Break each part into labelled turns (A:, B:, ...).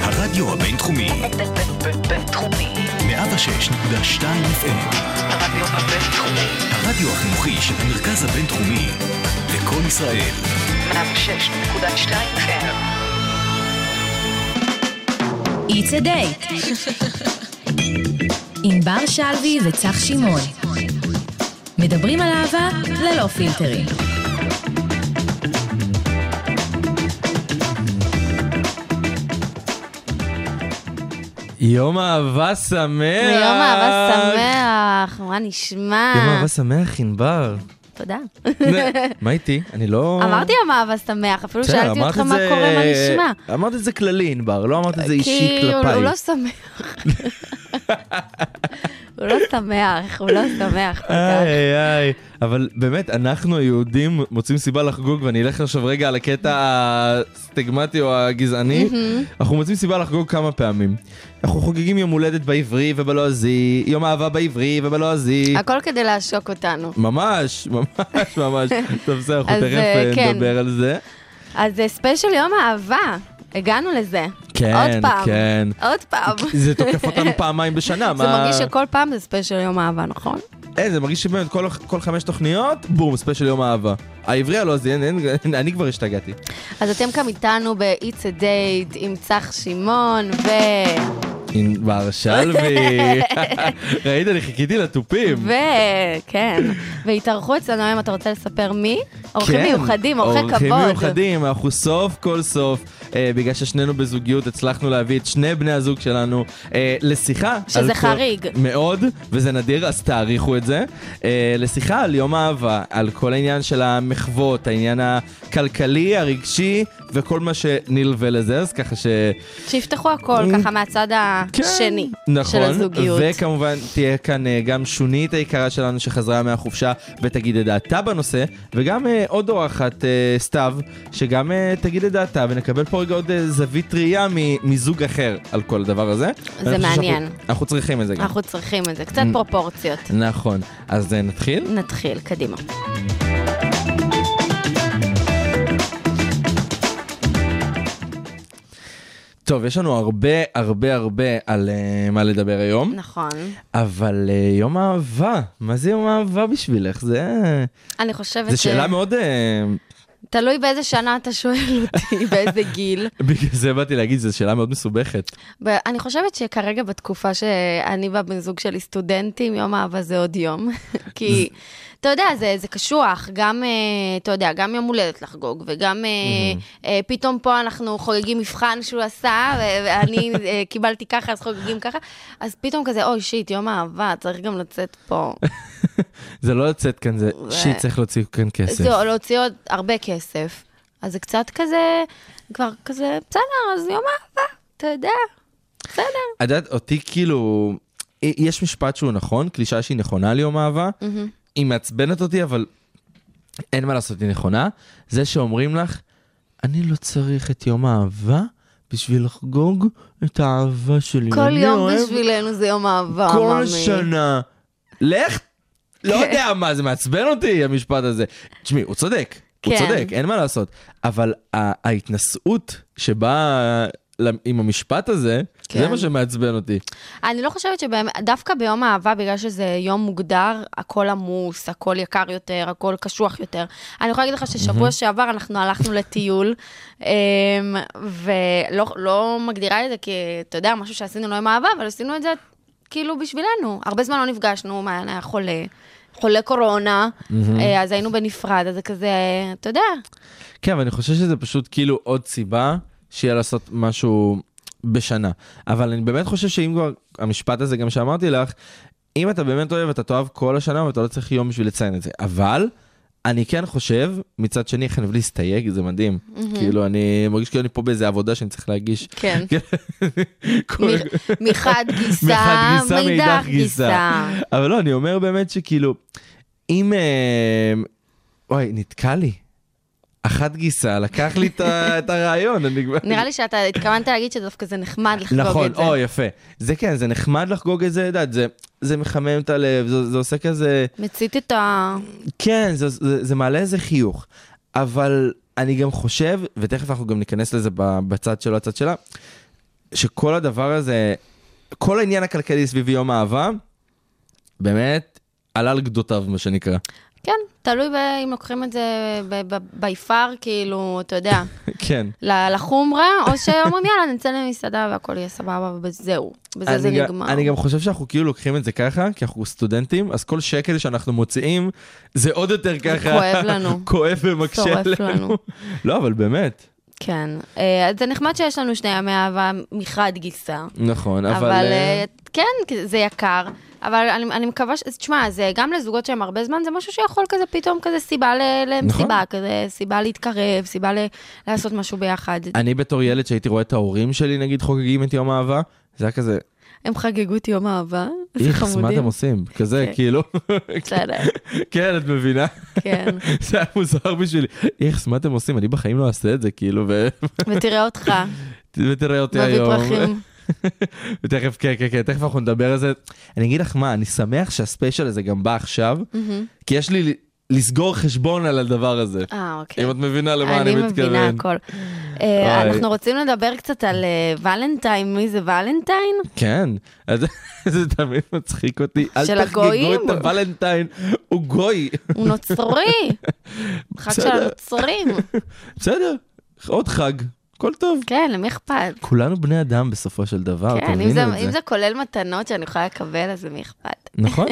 A: הרדיו הבינתחומי,
B: בינתחומי.
A: 106.2 FM,
B: הרדיו הבינתחומי.
A: הרדיו החינוכי של המרכז הבינתחומי, לקום ישראל,
B: 106.2 FM.
C: It's a date. עם בר שלוי וצח שמעון. מדברים על אהבה ללא פילטרים.
D: יום אהבה שמח!
E: יום אהבה שמח, מה נשמע?
D: יום אהבה שמח, ענבר.
E: תודה.
D: מה איתי? אני לא...
E: אמרתי יום אהבה שמח, אפילו
D: בסדר,
E: שאלתי
D: אמרת
E: אותך
D: את
E: מה
D: זה-
E: קורה, מה נשמע.
D: אמרת את זה כללי, ענבר, לא אמרת את זה אישי
E: כי הוא-
D: כלפיי.
E: הוא לא שמח. הוא לא שמח, הוא לא שמח כל כך.
D: איי, איי, אבל באמת, אנחנו היהודים מוצאים סיבה לחגוג, ואני אלך עכשיו רגע על הקטע הסטיגמטי או הגזעני, אנחנו מוצאים סיבה לחגוג כמה פעמים. אנחנו חוגגים יום הולדת בעברי ובלועזי, יום אהבה בעברי ובלועזי.
E: הכל כדי לעשוק אותנו.
D: ממש, ממש, ממש. טוב, בסדר, אנחנו
E: אז,
D: תכף
E: אה,
D: אה,
E: כן.
D: נדבר על זה.
E: אז זה ספיישל יום אהבה, הגענו לזה. עוד פעם.
D: כן.
E: עוד פעם.
D: זה תוקף אותנו פעמיים בשנה,
E: זה
D: מה...
E: מרגיש שכל פעם זה ספיישל יום אהבה, נכון?
D: אין, זה מרגיש שבאמת כל, כל חמש תוכניות, בום, ספיישל יום אהבה. העברי הלועזי, אין, אין, אין, אני כבר השתגעתי.
E: אז אתם כאן איתנו ב-It's a Date עם צח שמעון ו...
D: ענבר שלוי. ראית, אני חיכיתי לתופים.
E: ו... כן. והתארחו אצלנו היום, אתה רוצה לספר מי? אורחים
D: כן,
E: מיוחדים, אורחי כבוד.
D: אורחים מיוחדים, אנחנו סוף כל סוף, אה, בגלל ששנינו בזוגיות, הצלחנו להביא את שני בני הזוג שלנו אה, לשיחה.
E: שזה
D: על כל-
E: חריג.
D: מאוד, וזה נדיר, אז תעריכו את זה. אה, לשיחה על יום אהבה, על כל העניין של המחוות, העניין הכלכלי, הרגשי, וכל מה שנלווה לזה, אז ככה ש...
E: שיפתחו הכל ככה מהצד השני
D: Mm. נכון,
E: של הזוגיות.
D: וכמובן תהיה כאן אה, גם שונית היקרה שלנו שחזרה מהחופשה ותגיד את דעתה בנושא, וגם אה, עוד אורחת, אה, סתיו, שגם אה, תגיד את דעתה, ונקבל פה רגע עוד אה, זווית ראייה מ- מזוג אחר על כל הדבר הזה. אני חושב
E: מעניין.
D: שאנחנו- אנחנו צריכים את זה גם.
E: אנחנו צריכים את זה, קצת
D: מ-
E: פרופורציות.
D: נכון, אז אה, נתחיל?
E: נתחיל, קדימה.
D: Mm. טוב, יש לנו הרבה הרבה הרבה על אה, מה לדבר היום,
E: נכון.
D: אבל אה, יום אהבה, מה זה יום אהבה בשבילך? זה אה,
E: אני חושבת
D: זה שאלה מאוד... אה,
E: תלוי באיזה שנה אתה שואל אותי, באיזה גיל.
D: בגלל זה באתי להגיד, זו שאלה מאוד מסובכת.
E: ב- אני חושבת שכרגע בתקופה שאני והבן זוג שלי סטודנטים, יום אהבה זה עוד יום. כי, אתה יודע, זה, זה קשוח, גם, אה, אתה יודע, גם יום הולדת לחגוג, וגם אה, אה, פתאום פה אנחנו חוגגים מבחן שהוא עשה, ו- ואני אה, קיבלתי ככה, אז חוגגים ככה, אז פתאום כזה, אוי, שיט, יום אהבה, צריך גם לצאת פה.
D: זה לא לצאת כאן, זה
E: ו-
D: שיט צריך להוציא כאן כסף.
E: זה להוציא עוד הרבה כסף. אז זה קצת כזה, כבר כזה, בסדר, אז יום אהבה, אתה יודע, בסדר.
D: את יודעת, אותי כאילו, יש משפט שהוא נכון, קלישאה שהיא נכונה ליום אהבה, היא מעצבנת אותי, אבל אין מה לעשות, היא נכונה. זה שאומרים לך, אני לא צריך את יום האהבה בשביל לחגוג את האהבה שלי.
E: כל
D: אני
E: יום
D: אוהב
E: בשבילנו זה יום אהבה,
D: כל
E: מאמי.
D: שנה. לך, לא
E: כן.
D: יודע מה, זה מעצבן אותי המשפט הזה. תשמעי, הוא צודק, הוא
E: כן.
D: צודק, אין מה לעשות. אבל ה- ההתנשאות שבאה ל- עם המשפט הזה, זה
E: כן.
D: מה שמעצבן אותי.
E: אני לא חושבת שבאמת, דווקא ביום אהבה, בגלל שזה יום מוגדר, הכל עמוס, הכל יקר יותר, הכל קשוח יותר. אני יכולה להגיד לך ששבוע שעבר אנחנו הלכנו לטיול, אמ, ולא לא מגדירה את זה כי, אתה יודע, משהו שעשינו לא עם אהבה, אבל עשינו את זה כאילו בשבילנו. הרבה זמן לא נפגשנו, מעיין היה חולה. חולה קורונה, אה, אז היינו בנפרד, אז זה כזה, אתה יודע,
D: כן, אבל אני חושב שזה פשוט כאילו עוד סיבה שיהיה לעשות משהו בשנה. אבל אני באמת חושב שאם כבר, המשפט הזה גם שאמרתי לך, אם אתה באמת אוהב, אתה תאהב כל השנה ואתה לא צריך יום בשביל לציין את זה. אבל... אני כן חושב, מצד שני, איך אני אוהב להסתייג, זה מדהים. כאילו, אני מרגיש כאילו אני פה באיזה עבודה שאני צריך להגיש.
E: כן.
D: כל-
E: מ- מחד גיסה,
D: מחד גיסה, מאידך גיסה. אבל לא, אני אומר באמת שכאילו, אם... אה, וואי, נתקע לי. אחת גיסה, לקח לי את ה- את הרעיון, אני כבר...
E: נראה לי שאתה התכוונת להגיד שדווקא זה נחמד לחגוג
D: נכון,
E: את זה.
D: או, יפה. זה כן, זה נחמד לחגוג את זה, את יודעת, זה- זה מחמם את הלב, זה זה עושה כזה...
E: מצית את ה...
D: כן, זה, זה, זה מעלה איזה חיוך. אבל אני גם חושב, ותכף אנחנו גם ניכנס לזה ב- בצד שלו, הצד שלה, שכל הדבר הזה, כל העניין הכלכלי סביב יום אהבה, באמת עלה על גדותיו, מה שנקרא.
E: כן, תלוי ב- אם לוקחים את זה ביפר, כאילו, אתה יודע,
D: כן.
E: ל- לחומרה, או שאומרים, יאללה, נצא למסעדה והכל יהיה סבבה, וזהו. בזה זה
D: אני גם-
E: נגמר.
D: אני גם חושב שאנחנו כאילו לוקחים את זה ככה, כי אנחנו סטודנטים, אז כל שקל שאנחנו מוציאים, זה עוד יותר ככה...
E: כואב לנו.
D: כואב ומקשה
E: שורף
D: עלינו.
E: לנו.
D: לא, אבל באמת.
E: כן. אה, אז זה נחמד שיש לנו שני ימי אהבה מחד גיסה.
D: נכון, אבל...
E: אבל
D: אה,
E: אה, כן, כי זה יקר. אבל אני, אני מקווה ש... תשמע, זה גם לזוגות שהם הרבה זמן, זה משהו שיכול כזה פתאום כזה סיבה ל- למסיבה,
D: נכון.
E: כזה סיבה להתקרב, סיבה ל- לעשות משהו ביחד.
D: אני בתור ילד שהייתי רואה את ההורים שלי, נגיד, חוגגים את יום האהבה, זה היה כזה,
E: הם חגגו את יום אהבה, איזה
D: איכס, מה אתם
E: חמודים.
D: עושים? כזה,
E: כן.
D: כאילו,
E: בסדר,
D: כן, את מבינה?
E: כן.
D: זה היה מוזר בשבילי. איכס, מה אתם עושים? אני בחיים לא אעשה את זה, כאילו, ו-
E: ותראה אותך,
D: ותראה אותי
E: מביא
D: היום.
E: פרחים.
D: ותכף, כן, כן, כן, תכף אנחנו נדבר על זה. אני אגיד לך מה, אני שמח שהספיישל הזה גם בא עכשיו, כי יש לי ל- לסגור חשבון על הדבר הזה.
E: אה, אוקיי.
D: אם את מבינה למה אני מתכוון.
E: מבינה הכל. אה,
D: אוי.
E: אנחנו רוצים לדבר קצת על אה, ולנטיין, מי זה ולנטיין?
D: כן, אז זה תמיד מצחיק אותי. אל
E: של
D: תחגגו
E: הגויים?
D: את הוולנטיין, הוא גוי.
E: הוא נוצרי, חג של
D: בסדר.
E: הנוצרים.
D: בסדר, עוד חג, הכל טוב.
E: כן, למי אכפת?
D: כולנו בני אדם בסופו של דבר,
E: כן,
D: אה, תבינו
E: אם זה,
D: את
E: אם
D: זה.
E: זה כולל מתנות שאני יכולה לקבל, אז מי אכפת?
D: נכון.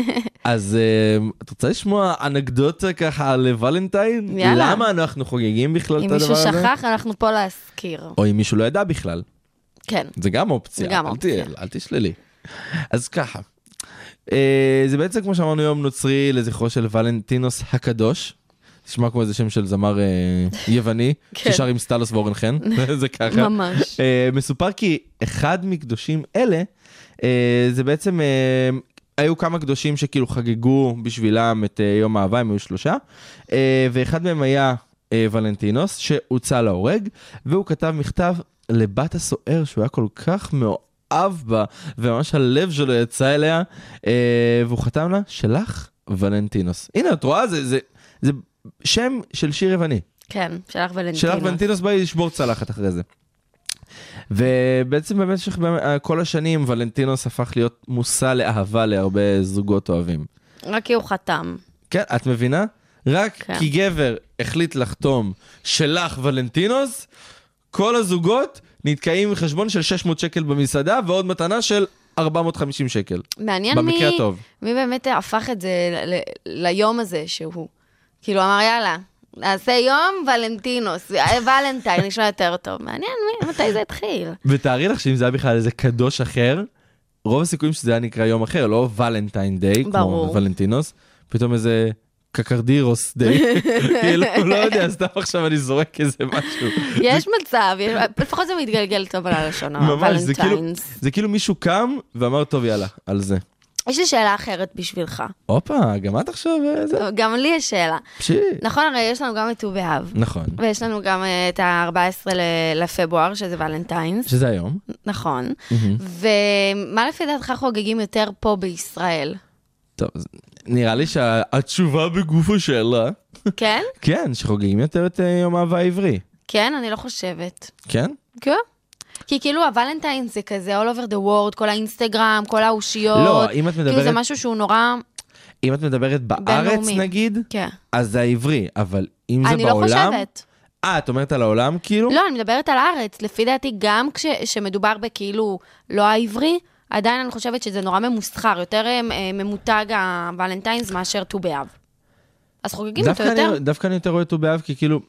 D: אז אה, את רוצה לשמוע אנקדוטה ככה על ולנטיין?
E: יאללה.
D: למה אנחנו חוגגים בכלל
E: אם
D: את הדבר הזה?
E: מישהו שכח, אנחנו פה להזכיר.
D: או אם מישהו לא ידע בכלל.
E: כן.
D: זה גם אופציה.
E: זה גם
D: אל
E: אופציה.
D: ת- אל תשללי. אז ככה, אה, זה בעצם כמו שאמרנו יום נוצרי לזכרו של ולנטינוס הקדוש. נשמע כמו איזה שם של זמר אה, יווני,
E: כן.
D: ששר עם סטלוס ואורן חן, זה ככה.
E: ממש.
D: אה, מסופר כי אחד מקדושים אלה, אה, זה בעצם, אה, היו כמה קדושים שכאילו חגגו בשבילם את אה, יום האהבה, הם היו שלושה, אה, ואחד מהם היה אה, ולנטינוס, שהוצא להורג, והוא כתב מכתב לבת הסוער שהוא היה כל כך מאוהב בה, וממש הלב שלו יצא אליה, אה, והוא חתם לה, שלך ולנטינוס. הנה, את רואה? זה... זה, זה שם של שיר יווני.
E: כן, שלך ולנטינה.
D: שלך ולנטינוס בא לשבור צלחת אחרי זה. ובעצם במשך באמת- אה, כל השנים ולנטינוס הפך להיות מושא לאהבה להרבה זוגות אוהבים.
E: רק כי הוא חתם.
D: כן, את מבינה? רק
E: כן.
D: כי גבר החליט לחתום שלך ולנטינוס, כל הזוגות נתקעים עם חשבון של 600 שקל במסעדה ועוד מתנה של 450 שקל.
E: מעניין מי...
D: במקרה הטוב.
E: מי באמת הפך את זה ל- ל- ליום הזה שהוא. כאילו, אמר, יאללה, נעשה יום ולנטינוס, אה, ולנטיין, נשמע יותר טוב. מעניין מי, מתי זה התחיל.
D: ותארי לך שאם זה היה בכלל איזה קדוש אחר, רוב הסיכויים שזה היה נקרא יום אחר, לא ולנטיין דיי, כמו
E: ברור.
D: ולנטינוס, פתאום איזה קקרדירוס דיי, כאילו, לא יודע, סתם עכשיו אני זורק איזה משהו.
E: יש מצב, יש- לפחות זה מתגלגל טוב על הלשון,
D: ממש, זה כאילו,
E: הוולנטיינס.
D: זה כאילו מישהו קם ואמר, טוב, יאללה, על זה.
E: יש לי שאלה אחרת בשבילך.
D: הופה, גם את עכשיו אה, זה?
E: גם לי יש שאלה.
D: פשי.
E: נכון, הרי יש לנו גם את ט"ו באב,
D: נכון.
E: ויש לנו גם אה, את ה-14 לפברואר, שזה ולנטיינס,
D: שזה היום.
E: נכון. ומה לפי דעתך חוגגים יותר פה בישראל?
D: טוב, אז נראה לי שהתשובה בגוף השאלה,
E: כן?
D: כן, שחוגגים יותר את אה, יום האהבה העברי.
E: כן, אני לא חושבת.
D: כן?
E: כן. כי כאילו הוולנטיין זה כזה all over the world, כל האינסטגרם, כל האושיות.
D: לא, אם את
E: כאילו זה
D: מדברת-
E: משהו שהוא נורא...
D: אם את מדברת בארץ,
E: בינלאומי.
D: נגיד,
E: כן.
D: אז זה העברי, אבל אם זה
E: אני לא
D: בעולם...
E: חושבת.
D: אה, את אומרת על העולם כאילו?
E: לא, אני מדברת על הארץ. לפי דעתי, גם כשמדובר בכאילו לא העברי, עדיין אני חושבת שזה נורא ממוסחר, יותר אה, אה, ממותג הוולנטיינס מאשר ט"ו באב. אז חוגגים אותו
D: דווקא אני-
E: יותר.
D: דווקא אני יותר רואה ט"ו באב, כי כאילו,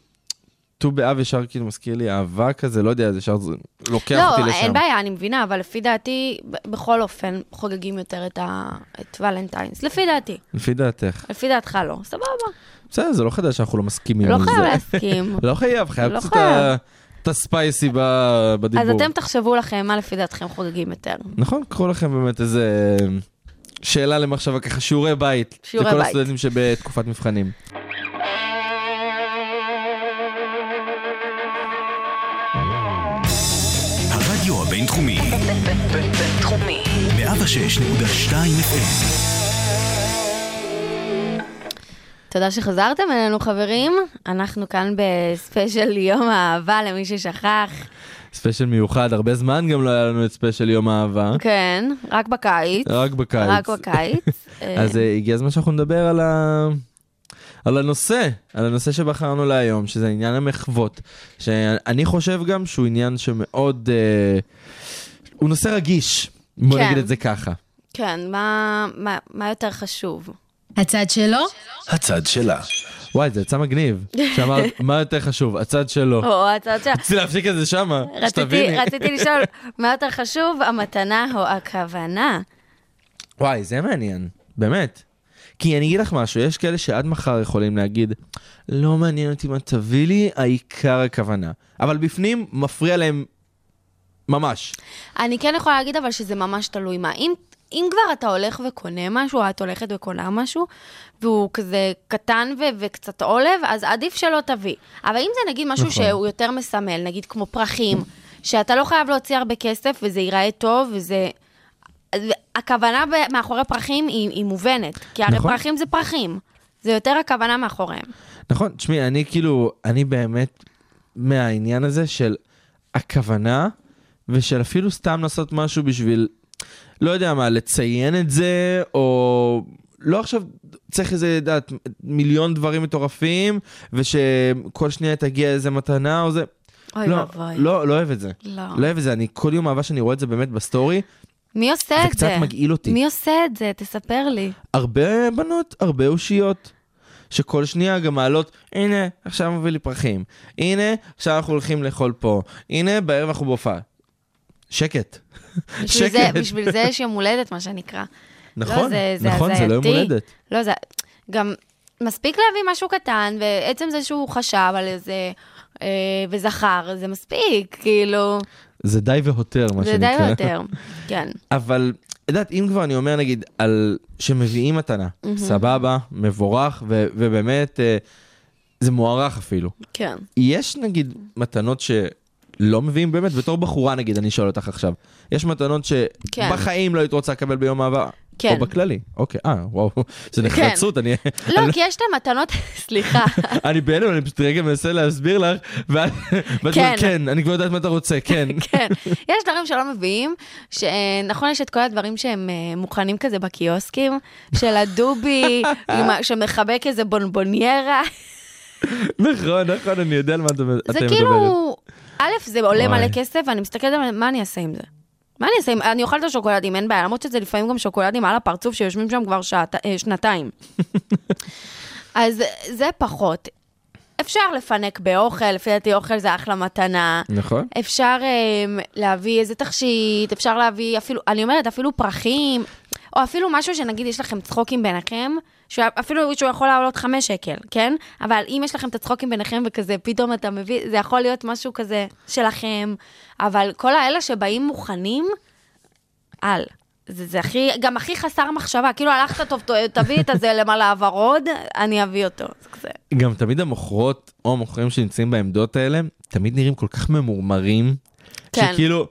D: ט"ו באב ישר כאילו מזכיר לי אהבה כזה, לא יודע, זה ישר זה לוקח אותי
E: לא,
D: לשם.
E: אין בעיה, אני מבינה, אבל לפי דעתי, ב- בכל אופן, חוגגים יותר את ה- את ולנטיינס. לפי דעתי.
D: לפי דעתך.
E: לפי דעתך לא, סבבה.
D: בסדר, זה לא חדש שאנחנו לא מסכימים
E: לא
D: על זה.
E: חייב להסכים.
D: לא חייב, חייב
E: לא
D: קצת
E: חייב.
D: ה- את הספייסי ב- בדיבור.
E: אז אתם תחשבו לכם מה לפי דעתכם חוגגים יותר.
D: נכון, קחו לכם באמת איזה אה, שאלה למחשבה ככה, שיעורי בית.
E: שיעורי
D: לכל
E: בית.
D: הסטודנטים שבתקופת מבחנים.
A: הרדיו הבינתחומי,
B: בינתחומי.
A: 106.2 FM.
E: אתה תודה שחזרתם אלינו, חברים. אנחנו כאן בספיישל יום האהבה, למי ששכח.
D: ספיישל מיוחד, הרבה זמן גם לא היה לנו את ספיישל יום אהבה.
E: כן, רק בקיץ.
D: רק בקיץ.
E: רק בקיץ.
D: אז אה, הגיע הזמן שאנחנו נדבר על, ה... על הנושא, על הנושא שבחרנו להיום, שזה עניין המחוות, שאני חושב גם שהוא עניין שמאוד... אה... הוא נושא רגיש, בוא
E: כן.
D: נגיד את זה ככה.
E: כן, מה, מה, מה יותר חשוב?
D: אוקיי.
C: הצד שלו,
A: הצד שלה.
D: וואי, זה יצא מגניב, שאמרת, מה יותר חשוב, הצד שלו.
E: או הצד של...
D: רציתי להפסיק את זה שמה,
E: רציתי,
D: שתביני.
E: רציתי לשאול, מה יותר חשוב, המתנה או הכוונה?
D: וואי, זה מעניין, באמת. כי אני אגיד לך משהו, יש כאלה שעד מחר יכולים להגיד, לא מעניין אותי מה תביא לי, העיקר הכוונה. אבל בפנים מפריע להם ממש.
E: אני כן יכולה להגיד אבל שזה ממש תלוי מה. אם, אם כבר אתה הולך וקונה משהו, או את הולכת וקונה משהו, והוא כזה קטן ו- וקצת עולב, אז עדיף שלא תביא. אבל אם זה נגיד משהו
D: נכון.
E: נכון. שהוא יותר מסמל, נגיד כמו פרחים, שאתה לא חייב להוציא הרבה כסף, וזה ייראה טוב, וזה... אז הכוונה ב- מאחורי פרחים היא, היא מובנת, כי הרי
D: נכון.
E: נכון. פרחים זה פרחים. זה יותר הכוונה מאחוריהם.
D: נכון, תשמעי, אני כאילו, אני באמת מהעניין הזה של הכוונה, ושל אפילו סתם לעשות משהו בשביל, לא יודע מה, לציין את זה, או לא עכשיו צריך איזה, יודעת, מיליון דברים מטורפים, ושכל שנייה תגיע איזה מתנה או זה.
E: אוי
D: לא,
E: ואבוי.
D: לא, לא אוהב את זה.
E: לא.
D: לא אוהב את זה, אני כל יום אהבה שאני רואה את זה באמת בסטורי,
E: מי עושה
D: זה
E: את זה?
D: קצת מגעיל אותי.
E: מי עושה את זה? תספר לי.
D: הרבה בנות, הרבה אושיות. שכל שנייה גם מעלות, הנה, עכשיו מביא לי פרחים. הנה, עכשיו אנחנו הולכים לאכול פה. הנה, בערב אנחנו בהופעה. שקט.
E: בשביל זה,
D: שקט.
E: בשביל זה יש יום הולדת, מה שנקרא.
D: נכון,
E: לא, זה, זה
D: נכון, זה לא יום
E: הזייתי.
D: הולדת.
E: לא, זה... גם מספיק להביא משהו קטן, ועצם זה שהוא חשב על איזה... אה, וזכר, זה מספיק, כאילו,
D: זה די והותר, מה
E: זה
D: שנקרא.
E: די לא יותר, כן.
D: אבל, את יודעת, אם כבר אני אומר, נגיד, על שמביאים מתנה, סבבה, מבורך, ו- ובאמת, אה, זה מוערך אפילו.
E: כן.
D: יש נגיד מתנות שלא מביאים באמת, בתור בחורה נגיד, אני שואל אותך עכשיו, יש מתנות
E: כן.
D: שבחיים לא היית רוצה לקבל ביום אהבה?
E: כן.
D: או בכללי, אוקיי, אה, וואו, זה נחרצות, אני,
E: לא, כי יש את המתנות, סליחה,
D: אני בהלם, אני פשוט רגע מנסה להסביר לך, ואת ואת
E: כן.
D: אומרת, כן, אני כבר יודעת מה אתה רוצה, כן.
E: כן. יש דברים שלא מביאים, שנכון, יש את כל הדברים שהם אה, מוכנים כזה בקיוסקים, של הדובי, עם ה- שמחבק איזה בונבוניירה.
D: נכון, נכון, אני יודע על מה את מדברת.
E: זה כאילו, א', זה עולה
D: וואי.
E: מלא כסף, ואני מסתכלת על מה אני אעשה עם זה. מה אני אעשה עם, אני אוכל את השוקולדים, אין בעיה, למרות שזה לפעמים גם שוקולדים על הפרצוף שיושבים שם כבר שעתי, אה, שנתיים. אז זה פחות. אפשר לפנק באוכל, לפי דעתי אוכל זה אחלה מתנה.
D: נכון.
E: אפשר um, להביא איזה תכשיט, אפשר להביא אפילו, אני אומרת, אפילו פרחים, או אפילו משהו שנגיד יש לכם צחוקים ביניכם, שהוא- אפילו שהוא יכול לעלות חמש שקל, כן? אבל אם יש לכם את הצחוקים ביניכם וכזה, פתאום אתה מביא, זה יכול להיות משהו כזה שלכם, אבל כל האלה שבאים מוכנים, על. זה, זה הכי, גם הכי חסר מחשבה, כאילו הלכת טוב, ת- תביא את הזלם על הוורוד, אני אביא אותו. זה כזה.
D: גם תמיד המוכרות או המוכרים שנמצאים בעמדות האלה, תמיד נראים כל כך ממורמרים,
E: כן.
D: שכאילו,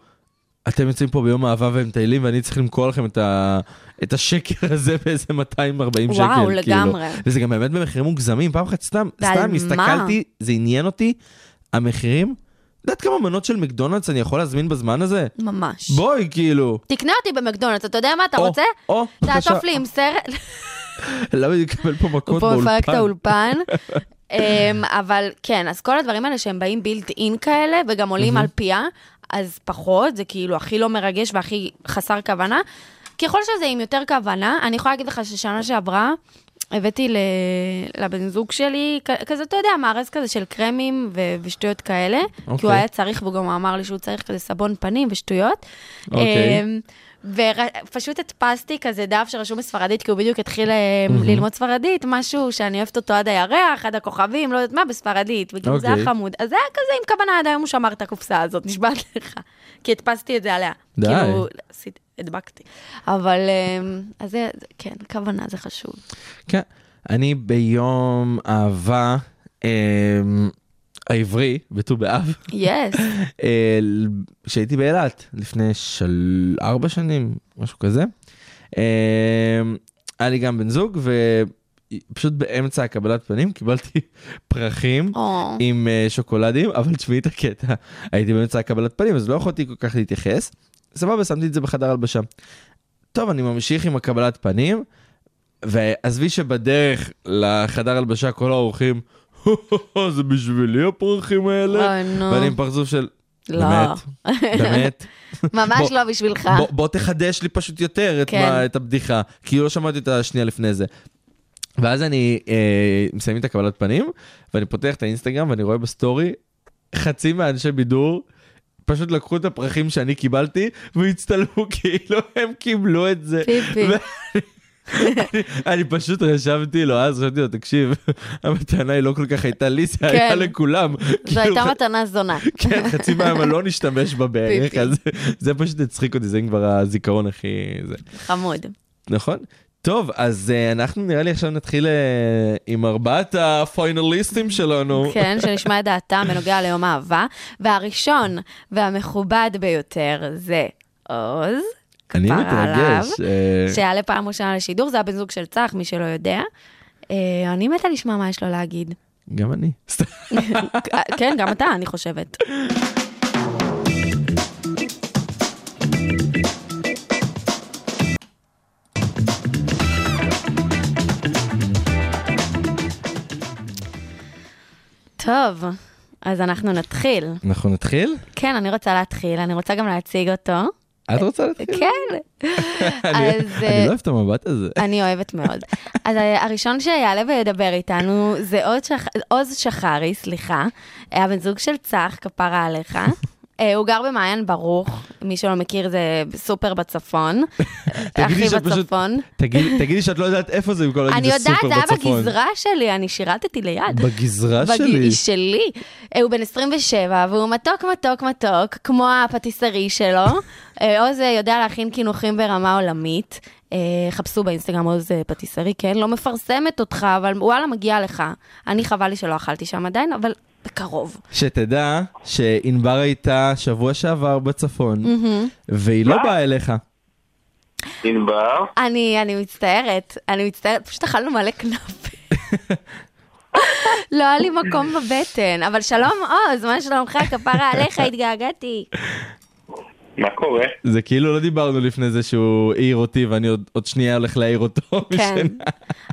D: אתם יוצאים פה ביום אהבה והם מטיילים ואני צריך למכור לכם את, ה... את השקר הזה באיזה 240 שקל.
E: וואו,
D: כאילו.
E: לגמרי.
D: וזה גם באמת במחירים מוגזמים, פעם אחת סתם,
E: ועל
D: סתם
E: מה?
D: הסתכלתי, זה עניין אותי, המחירים, את יודעת כמה מנות של מקדונלדס אני יכול להזמין בזמן הזה?
E: ממש.
D: בואי, כאילו.
E: תקנה אותי במקדונלדס, אתה יודע מה אתה
D: או,
E: רוצה?
D: או,
E: תעטוף
D: בבקשה.
E: לי עם סרט.
D: למה אני אקבל פה מכות
E: הוא פה מפרק את
D: באולפן?
E: האולפן. אמ, אבל כן, אז כל הדברים האלה שהם באים בילט אין כאלה, וגם עולים על פיה, אז פחות, זה כאילו הכי לא מרגש והכי חסר כוונה. ככל שזה עם יותר כוונה, אני יכולה להגיד לך ששנה שעברה הבאתי ל- לבן זוג שלי, כ- כזה, אתה יודע, מארז כזה של קרמים ו- ושטויות כאלה, כי הוא
D: אוקיי.
E: היה צריך, והוא גם אמר לי שהוא צריך כזה סבון פנים ושטויות.
D: אוקיי.
E: אמ, ופשוט הדפסתי כזה דף שרשום בספרדית, כי הוא בדיוק התחיל אה, ללמוד ספרדית, משהו שאני אוהבת אותו עד הירח, עד הכוכבים, לא יודעת מה, בספרדית, וכאילו זה היה
D: אוקיי.
E: חמוד. אז זה היה כזה עם כוונה, עד היום הוא שמר את הקופסה הזאת, נשבעת לך. כי הדפסתי את זה עליה.
D: די.
E: כאילו, עשיתי- הדבקתי. אבל, אה, אז זה, זה- כן, כוונה זה חשוב.
D: כן. אני ביום אהבה אמ, העברי, בט"ו באב,
E: יס,
D: אה, כשהייתי באילת לפני של... ארבע שנים, משהו כזה. אמ, היה לי גם בן זוג, פשוט באמצע הקבלת פנים קיבלתי פרחים
E: או,
D: עם אה, שוקולדים, אבל תשמעי את הקטע, הייתי באמצע הקבלת פנים, אז לא יכולתי כל כך להתייחס. סבבה, שמתי את זה בחדר הלבשה. טוב, אני ממשיך עם הקבלת פנים, ועזבי שבדרך לחדר הלבשה כל האורחים, זה בשבילי הפרחים האלה?
E: אוי, אה, נו.
D: ואני עם פרצוף של,
E: לא.
D: באמת, באמת,
E: ממש
D: בוא-
E: לא בשבילך.
D: בוא, בוא תחדש לי פשוט יותר את,
E: כן.
D: מה, את הבדיחה, כי לא שמעתי אותה שנייה לפני זה. ואז אני אה, מסיים את הקבלת פנים, ואני פותח את האינסטגרם ואני רואה בסטורי חצי מהאנשי בידור. פשוט לקחו את הפרחים שאני קיבלתי והצטלמו כאילו הם קיבלו את זה.
E: פיפי.
D: אני פשוט רשמתי לו אז, חשבתי לו, תקשיב, המתנה היא לא כל כך הייתה לי, זה היה
E: כן.
D: לכולם.
E: זו
D: כאילו,
E: הייתה
D: ח-
E: מתנה זונה.
D: כן, חצי מהיום לא נשתמש בה בערך,
E: פיפי.
D: אז זה פשוט הצחיק אותי, זה כבר הזיכרון הכי... זה.
E: חמוד.
D: נכון? טוב, אז אה, אנחנו נראה לי עכשיו נתחיל אה, עם ארבעת הפיינליסטים שלנו.
E: כן, שנשמע את דעתם בנוגע ליום האהבה. והראשון והמכובד ביותר זה עוז.
D: אני
E: כפרה
D: מתרגש.
E: עליו,
D: אה,
E: שיעלה פעם ראשונה לשידור, זה הבן זוג של צח, מי שלא יודע. אה, אני מתה לשמוע מה יש לו להגיד.
D: גם אני. סתם.
E: כן, גם אתה, אני חושבת. טוב, אז אנחנו נתחיל.
D: אנחנו נתחיל?
E: כן, אני רוצה להתחיל, אני רוצה גם להציג אותו.
D: את רוצה להתחיל?
E: כן.
D: אני-
E: אז... אה,
D: אני לא אוהב את המבט הזה.
E: אני אוהבת מאוד. אז ה- הראשון שיעלה וידבר איתנו זה עוז שח- עוז שחרי, סליחה, הבן זוג של צח, כפרה עליך. אה, הוא גר במעיין ברוך, מי שלא מכיר זה סופר בצפון,
D: תגידי
E: הכי
D: שאת פשוט-
E: בצפון.
D: תגיד- תגידי שאת לא יודעת איפה זה במקום
E: אני
D: להגיד זה
E: יודעת,
D: סופר
E: זה היה
D: בצפון.
E: בגזרה שלי, אני שירתתי ליד.
D: בגזרה
E: בג-
D: שלי.
E: היא שלי. אה, הוא בן 27, והוא מתוק, מתוק, מתוק, כמו הפטיסרי שלו. אה, עוז אה, יודע להכין קינוחים ברמה עולמית. אה, חפשו באינסטגרם עוז אה, פטיסרי, כן? לא מפרסמת אותך, אבל וואלה, מגיע לך. אני חבל לי שלא אכלתי שם עדיין, אבל בקרוב.
D: שתדע שענבר הייתה שבוע שעבר בצפון, והיא לא באה אליך.
F: ענבר,
E: אני, אני מצטערת, אני מצטערת, פשוט אכלנו מלא כנאפה. לא היה לי מקום בבטן, אבל שלום עוז, מה שלומך? כפרה עליך, התגעגעתי.
F: מה קורה?
D: זה כאילו לא דיברנו לפני זה שהוא העיר אותי ואני עוד, עוד שנייה הולך להעיר אותו.
E: כן,
D: משנה.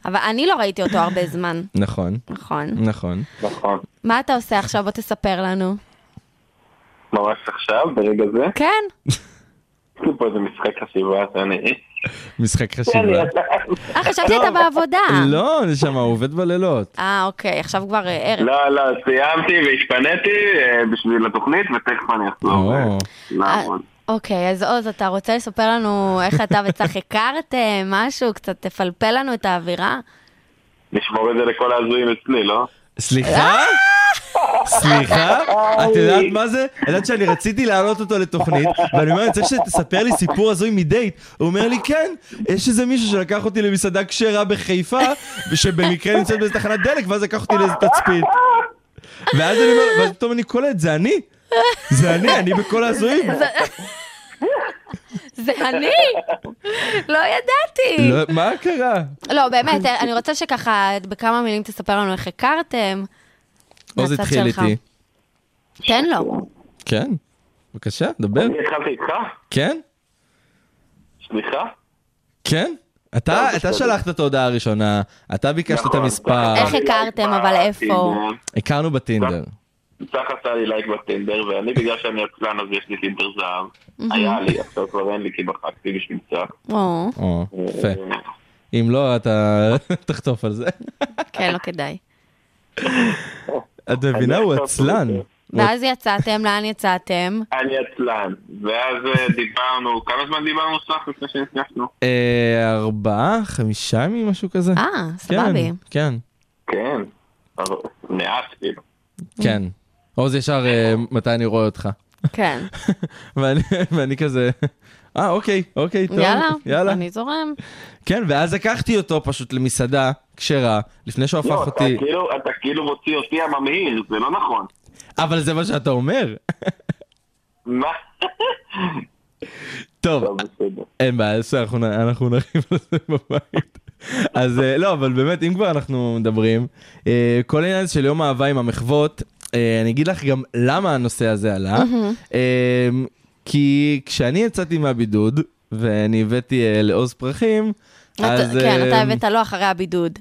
E: אבל אני לא ראיתי אותו הרבה זמן,
D: נכון,
E: נכון.
D: נכון.
F: נכון.
E: מה אתה עושה עכשיו? בוא תספר לנו.
F: ממש עכשיו, ברגע זה?
E: כן,
F: יש לי פה איזה משחק חשיבה, אז אני...
D: משחק חשיבה.
E: אה, חשבתי אתה בעבודה.
D: לא, נשמה, הוא עובד בלילות.
E: אה, אוקיי, עכשיו כבר אה, ערב.
F: לא, לא, סיימתי והתפניתי אה, בשביל התוכנית, ותכף אני אחזור.
D: או.
F: אה,
E: אה,
F: לעבוד.
E: אוקיי, אז עוז, אתה רוצה לספר לנו איך אתה וצח הכרתם, משהו? קצת תפלפל לנו את האווירה?
F: נשמור את זה לכל ההזויים אצלי, לא?
D: סליחה? סליחה? את יודעת מה זה? את יודעת שאני רציתי להעלות אותו לתוכנית, ואני אומר, אני צריך שתספר לי סיפור הזוי מדייט. הוא אומר לי, כן, יש איזה מישהו שלקח אותי למסעדה כשרה בחיפה, שבמקרה נמצאת באיזה תחנת דלק, ואז לקח אותי לאיזה תצפית. ואז אני אומר, ואז פתאום אני קולט, זה אני? זה אני, אני בכל ההזויים.
E: זה אני! לא ידעתי!
D: לא, מה קרה?
E: לא, באמת, אני רוצה שככה, בכמה מילים תספר לנו איך הכרתם.
D: עוז
E: מהצד
D: התחיל
E: שלך. לא.
D: איתי.
E: תן לו.
D: כן? בבקשה, דבר.
F: אני התחלתי איתך?
D: כן?
F: סליחה?
D: כן? אתה,
F: לא,
D: אתה
F: בסדר.
D: שלחת את ההודעה הראשונה, אתה ביקשת את
F: נכון,
D: המספר,
F: צח
E: איך
F: עשה לי
E: הכרתם,
F: לייק
E: אבל איפה?
F: בטינדר.
D: הכרנו בטינדר.
F: צח עשה לי לייק בטינדר, ואני בגלל שאני עצלן אז יש לי טינדר זהב. היה לי, עכשיו כבר אין לי כי מחקתי בשביל צח.
E: או,
D: או, יפה.
F: אה,
D: אם לא, אתה תחטוף על זה.
E: כן, לא כדאי.
D: את מבינה, הוא
F: אני
D: עצלן.
F: אעשה אותו.
E: ואז יצאתם, לאן יצאתם?
F: אני עצלן. ואז אה, דיברנו, כמה זמן דיברנו סך לפני שנפגשנו?
D: אה, ארבעה, חמישה ימים, משהו כזה.
E: אה,
D: כן,
E: סבבי.
D: כן,
F: כן, אבל מעט כאילו.
E: אה.
D: כן. עוז ישר, אה, מתי אני רואה אותך.
E: כן.
D: ואני- ואני כזה, אה, אוקיי, אוקיי, טוב.
E: יאללה,
D: יאללה.
E: אני זורם.
D: כן, ואז לקחתי אותו פשוט למסעדה כשרה, לפני שהוא
F: לא,
D: הפך
F: אתה
D: אותי.
F: כאילו, אתה כאילו מוציא אותי הממהיר, זה לא נכון.
D: אבל זה מה שאתה אומר.
F: מה? לא,
D: טוב,
F: טוב, בסדר.
D: אין בעיה, בסדר, אנחנו נ- אנחנו נריב על זה בבית. אז אה, לא, אבל באמת, אם כבר אנחנו מדברים, אה, כל העניין הזה של יום אהבה עם המחוות, אה, אני אגיד לך גם למה הנושא הזה עלה. אה, כי כשאני יצאתי מהבידוד, ואני הבאתי אה, לעוז פרחים, אז...
E: אתה- כן, אתה
D: אה,
E: הבאת לו אחרי הבידוד.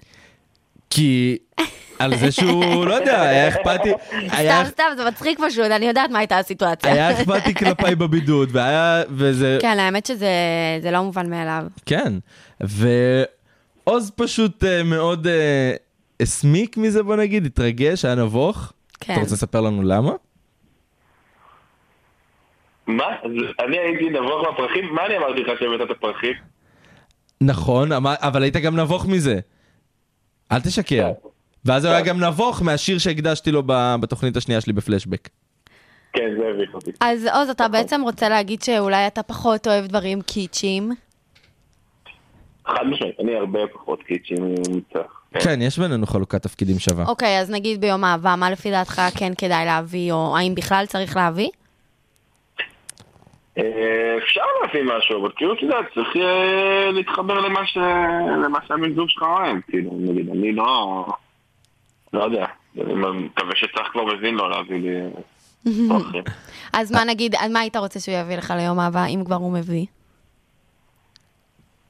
D: כי... על זה שהוא, לא יודע, היה אכפתי, היה
E: סתם, סתם, זה מצחיק פשוט, אני יודעת מה הייתה הסיטואציה.
D: היה אכפתי כלפיי בבידוד, והיה, וזה,
E: כן, האמת שזה זה לא מובן מאליו.
D: כן. ועוז פשוט אה, מאוד אה, הסמיק מזה, בוא נגיד, התרגש, היה נבוך.
E: כן.
D: אתה רוצה לספר לנו למה?
F: מה? אז אני הייתי נבוך מהפרחים? מה אני אמרתי לך שהבאת את הפרחים?
D: נכון, אמר- אבל היית גם נבוך מזה. אל תשקר. ואז הוא היה גם נבוך מהשיר שהקדשתי לו ב- בתוכנית השנייה שלי בפלשבק.
F: כן, זה הביך אותי.
E: אז עוז, אתה בעצם רוצה להגיד שאולי אתה פחות אוהב דברים קיצ'ים.
D: אה.
F: חד משמעית, אני הרבה פחות קיצ'י ממצח.
D: כן, יש בינינו חלוקת תפקידים שווה.
E: אוקיי, אז נגיד ביום אהבה, מה לפי דעתך כן כדאי להביא, או האם בכלל צריך להביא?
F: אה, אפשר להביא משהו, אבל כאילו, אתה יודע, צריך אה, להתחבר למה ש... למה שהבן זוג שלך אוהב, כאילו, נגיד, אני לא... לא יודע. אני מקווה שצריך כבר מבין לא להביא לי... פרחים.
E: אז
D: אה.
E: מה נגיד, אז מה היית רוצה שהוא יביא לך ליום אהבה, אם כבר הוא מביא?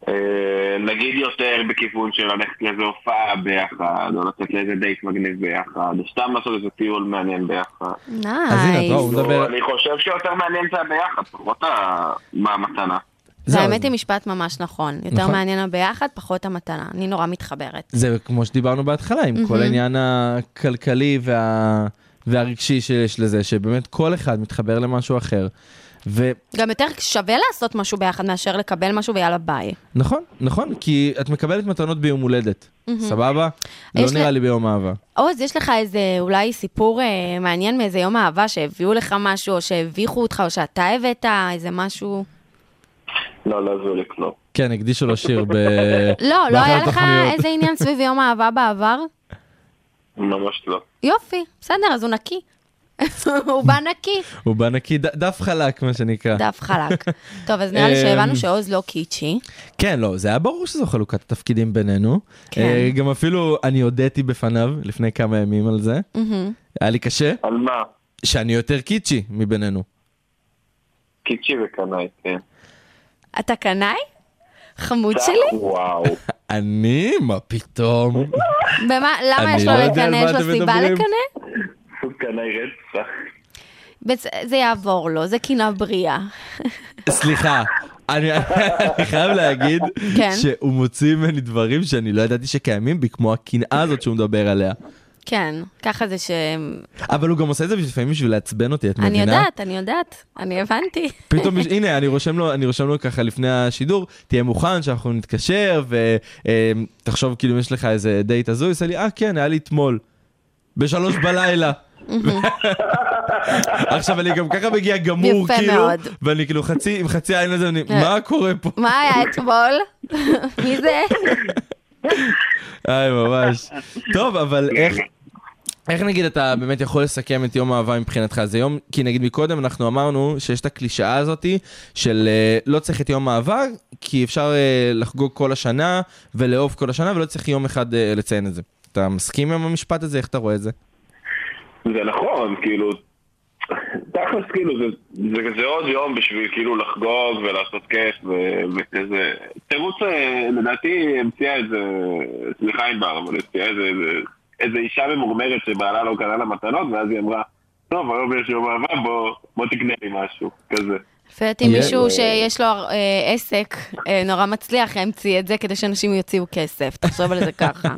F: אה, נגיד יותר בכיוון של ללכת לאיזו הופעה ביחד, או לצאת לאיזה דייט מגניב ביחד, או סתם לעשות איזה טיול מעניין ביחד.
D: אז הנה, את לא- רואה,
E: נייס.
D: הוא מדבר...
F: אני חושב שיותר מעניין זה הביחד, פחות ה- מה המתנה.
E: זה
D: זהו,
E: האמת
D: זה-
E: היא משפט ממש נכון. יותר
D: נכון.
E: מעניין הביחד, פחות המתנה. אני נורא מתחברת.
D: זה כמו שדיברנו בהתחלה, עם כל העניין הכלכלי וה... והרגשי שיש לזה, שבאמת כל אחד מתחבר למשהו אחר. ונכון,
E: גם יותר שווה לעשות משהו ביחד מאשר לקבל משהו ויאללה ביי.
D: נכון, כי את מקבלת מתנות ביום הולדת, סבבה? לא
E: יש
D: נראה
E: לי-
D: לי ביום אהבה.
E: עוז, יש לך איזה אולי סיפור אה, מעניין מאיזה יום אהבה שהביאו לך משהו, או שהביכו אותך, או שאתה הבאת איזה משהו?
F: לא, לא זו לי כלום.
D: כן, הקדישו לו שיר ב...
E: לא, לא
D: באחת
E: היה לך
D: התוכניות.
E: איזה עניין סביב יום אהבה בעבר?
F: ממש לא.
E: יופי, בסדר, אז הוא נקי. הוא בא נקי,
D: הוא בא נקי, ד- דף חלק, מה שנקרא.
E: דף חלק. טוב, אז
D: אה,
E: נראה לי
D: אמ.
E: שהבנו שעוז לא קיצ'י.
D: כן, לא, זה היה ברור שזו חלוקת התפקידים בינינו.
E: כן.
D: אה, גם אפילו אני הודיתי בפניו לפני כמה ימים על זה. היה לי קשה,
F: על מה?
D: שאני יותר קיצ'י מבינינו.
F: קיצ'י וקנאי, כן.
E: אתה קנאי?
F: לא.
E: חמוד שלי?
F: וואו.
D: אני? מה פתאום?
E: במה, למה
D: אני
E: יש לו
D: לא יודע על
E: לקנא?
D: מה
E: יש
D: אתם
E: לו סיבה
D: מדברים.
E: לקנא?
F: הוא קנאי רצח.
E: בצ- זה יעבור לו, זה קינה בריאה.
D: סליחה, אני, אני חייב להגיד
E: כן.
D: שהוא מוציא ממני דברים שאני לא ידעתי שקיימים בי, כמו הקנאה הזאת שהוא מדבר עליה.
E: כן, ככה זה ש...
D: אבל הוא גם עושה את זה לפעמים בשביל לעצבן אותי, את מבינה?
E: אני יודעת, אני יודעת, אני הבנתי.
D: פתאום, יש- הנה, אני רושם, לו, אני רושם לו ככה לפני השידור, תהיה מוכן שאנחנו נתקשר, ותחשוב כאילו אם יש לך איזה דייט הזוי, עושה לי, אה כן, היה לי אתמול, בשלוש בלילה. עכשיו אני גם ככה מגיע גמור,
E: יפה
D: כאילו,
E: מאוד.
D: ואני כאילו חצי, עם חצי העין הזה, אני, מה קורה פה?
E: מה היה אתמול? מי זה?
D: היי, ממש. טוב, אבל איך... איך נגיד אתה באמת יכול לסכם את יום האהבה מבחינתך? זה יום, כי נגיד מקודם אנחנו אמרנו שיש את הקלישאה הזאתי של אה, לא צריך את יום האהבה, כי אפשר אה, לחגוג כל השנה ולאהוב כל השנה ולא צריך יום אחד אה, לציין את זה. אתה מסכים עם המשפט הזה? איך אתה רואה את זה?
F: זה נכון, כאילו... תכלס, כאילו, זה, זה, זה עוד יום בשביל כאילו לחגוג ולעשות כיף ו- וכזה... תירוץ, אה, לדעתי, המציאה איזה... סליחה ענבר, אבל המציאה איזה, איזה, איזה אישה ממורמרת שבעלה לא קנה לה מתנות, ואז היא אמרה, טוב, היום יש יום אהבה, בוא, בוא תקנה לי משהו, כזה.
E: לפי דעתי מישהו שיש לו אה, עסק אה, נורא מצליח ימציא את זה כדי שאנשים יוציאו כסף, תחשוב על זה ככה.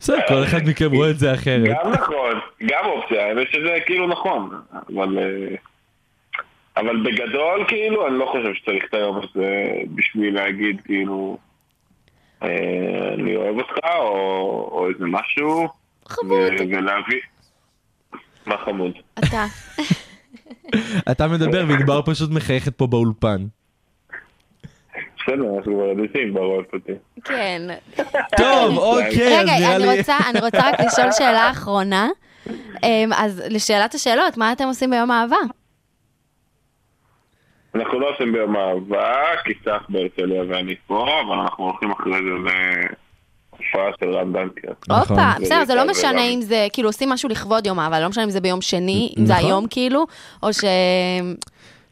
D: בסדר, כל אחד מכם רואה את זה אחרת.
F: גם נכון, גם אופציה, האמת שזה כאילו נכון, אבל... אה, אבל בגדול, כאילו, אני לא חושב שצריך את היום הזה בשביל להגיד, כאילו, אה, אני אוהב אותך, או, או איזה משהו,
E: חמוד,
F: ו- ולהביא... מה חמוד?
E: אתה.
D: אתה מדבר וענבר פשוט מחייכת פה באולפן.
F: בסדר, אנחנו כבר יודעים בראש אותי.
E: כן.
D: טוב, אוקיי, אז
E: רגע,
D: נראה
E: אני
D: לי...
E: רוצה אני רוצה רק לשאול שאלה אחרונה. אמ, אה, אז לשאלת השאלות, מה אתם עושים ביום אהבה?
F: אנחנו לא עושים ביום אהבה, כי צח בהרצליה ואני פה, אבל אנחנו הולכים אחרי זה להופעה של רם דנקר.
D: נכון.
E: הופה, בסדר, זה לא
F: זה
E: משנה
F: גם-
E: אם זה, כאילו עושים משהו לכבוד יום אבל לא משנה אם זה ביום שני, אם זה
D: נכון.
E: היום כאילו, או ש...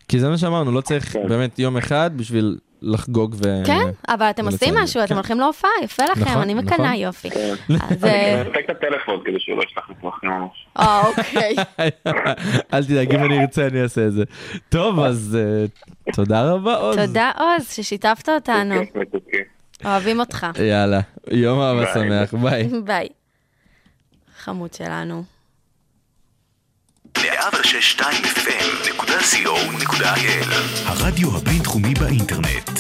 D: כי זה מה שאמרנו, לא צריך
F: כן.
D: באמת יום אחד בשביל לחגוג ו...
E: כן, אבל אתם עושים
D: ולציין.
E: משהו,
D: כן.
E: אתם הולכים להופעה, יפה לכם,
D: נכון,
E: אני
D: נכון.
E: מקנאה, יופי.
G: כן.
E: אז...
F: אני
E: אה,
F: מנתק את הטלפון כדי שהוא לא ישלח לי פרחים ממש.
E: אה, אוקיי.
D: אל תדאג, אם אני ארצה אני אעשה את זה. טוב, אז אה, תודה רבה עוז.
E: תודה עוז ששיתפת אותנו,
G: אוקיי.
F: כיף מתוקי.
E: אוהבים אותך.
D: יאללה, יום אהבה
F: ביי.
D: שמח, ביי.
E: ביי. חמוד שלנו.
A: 106.2 FM.co.il הרדיו הבינתחומי באינטרנט.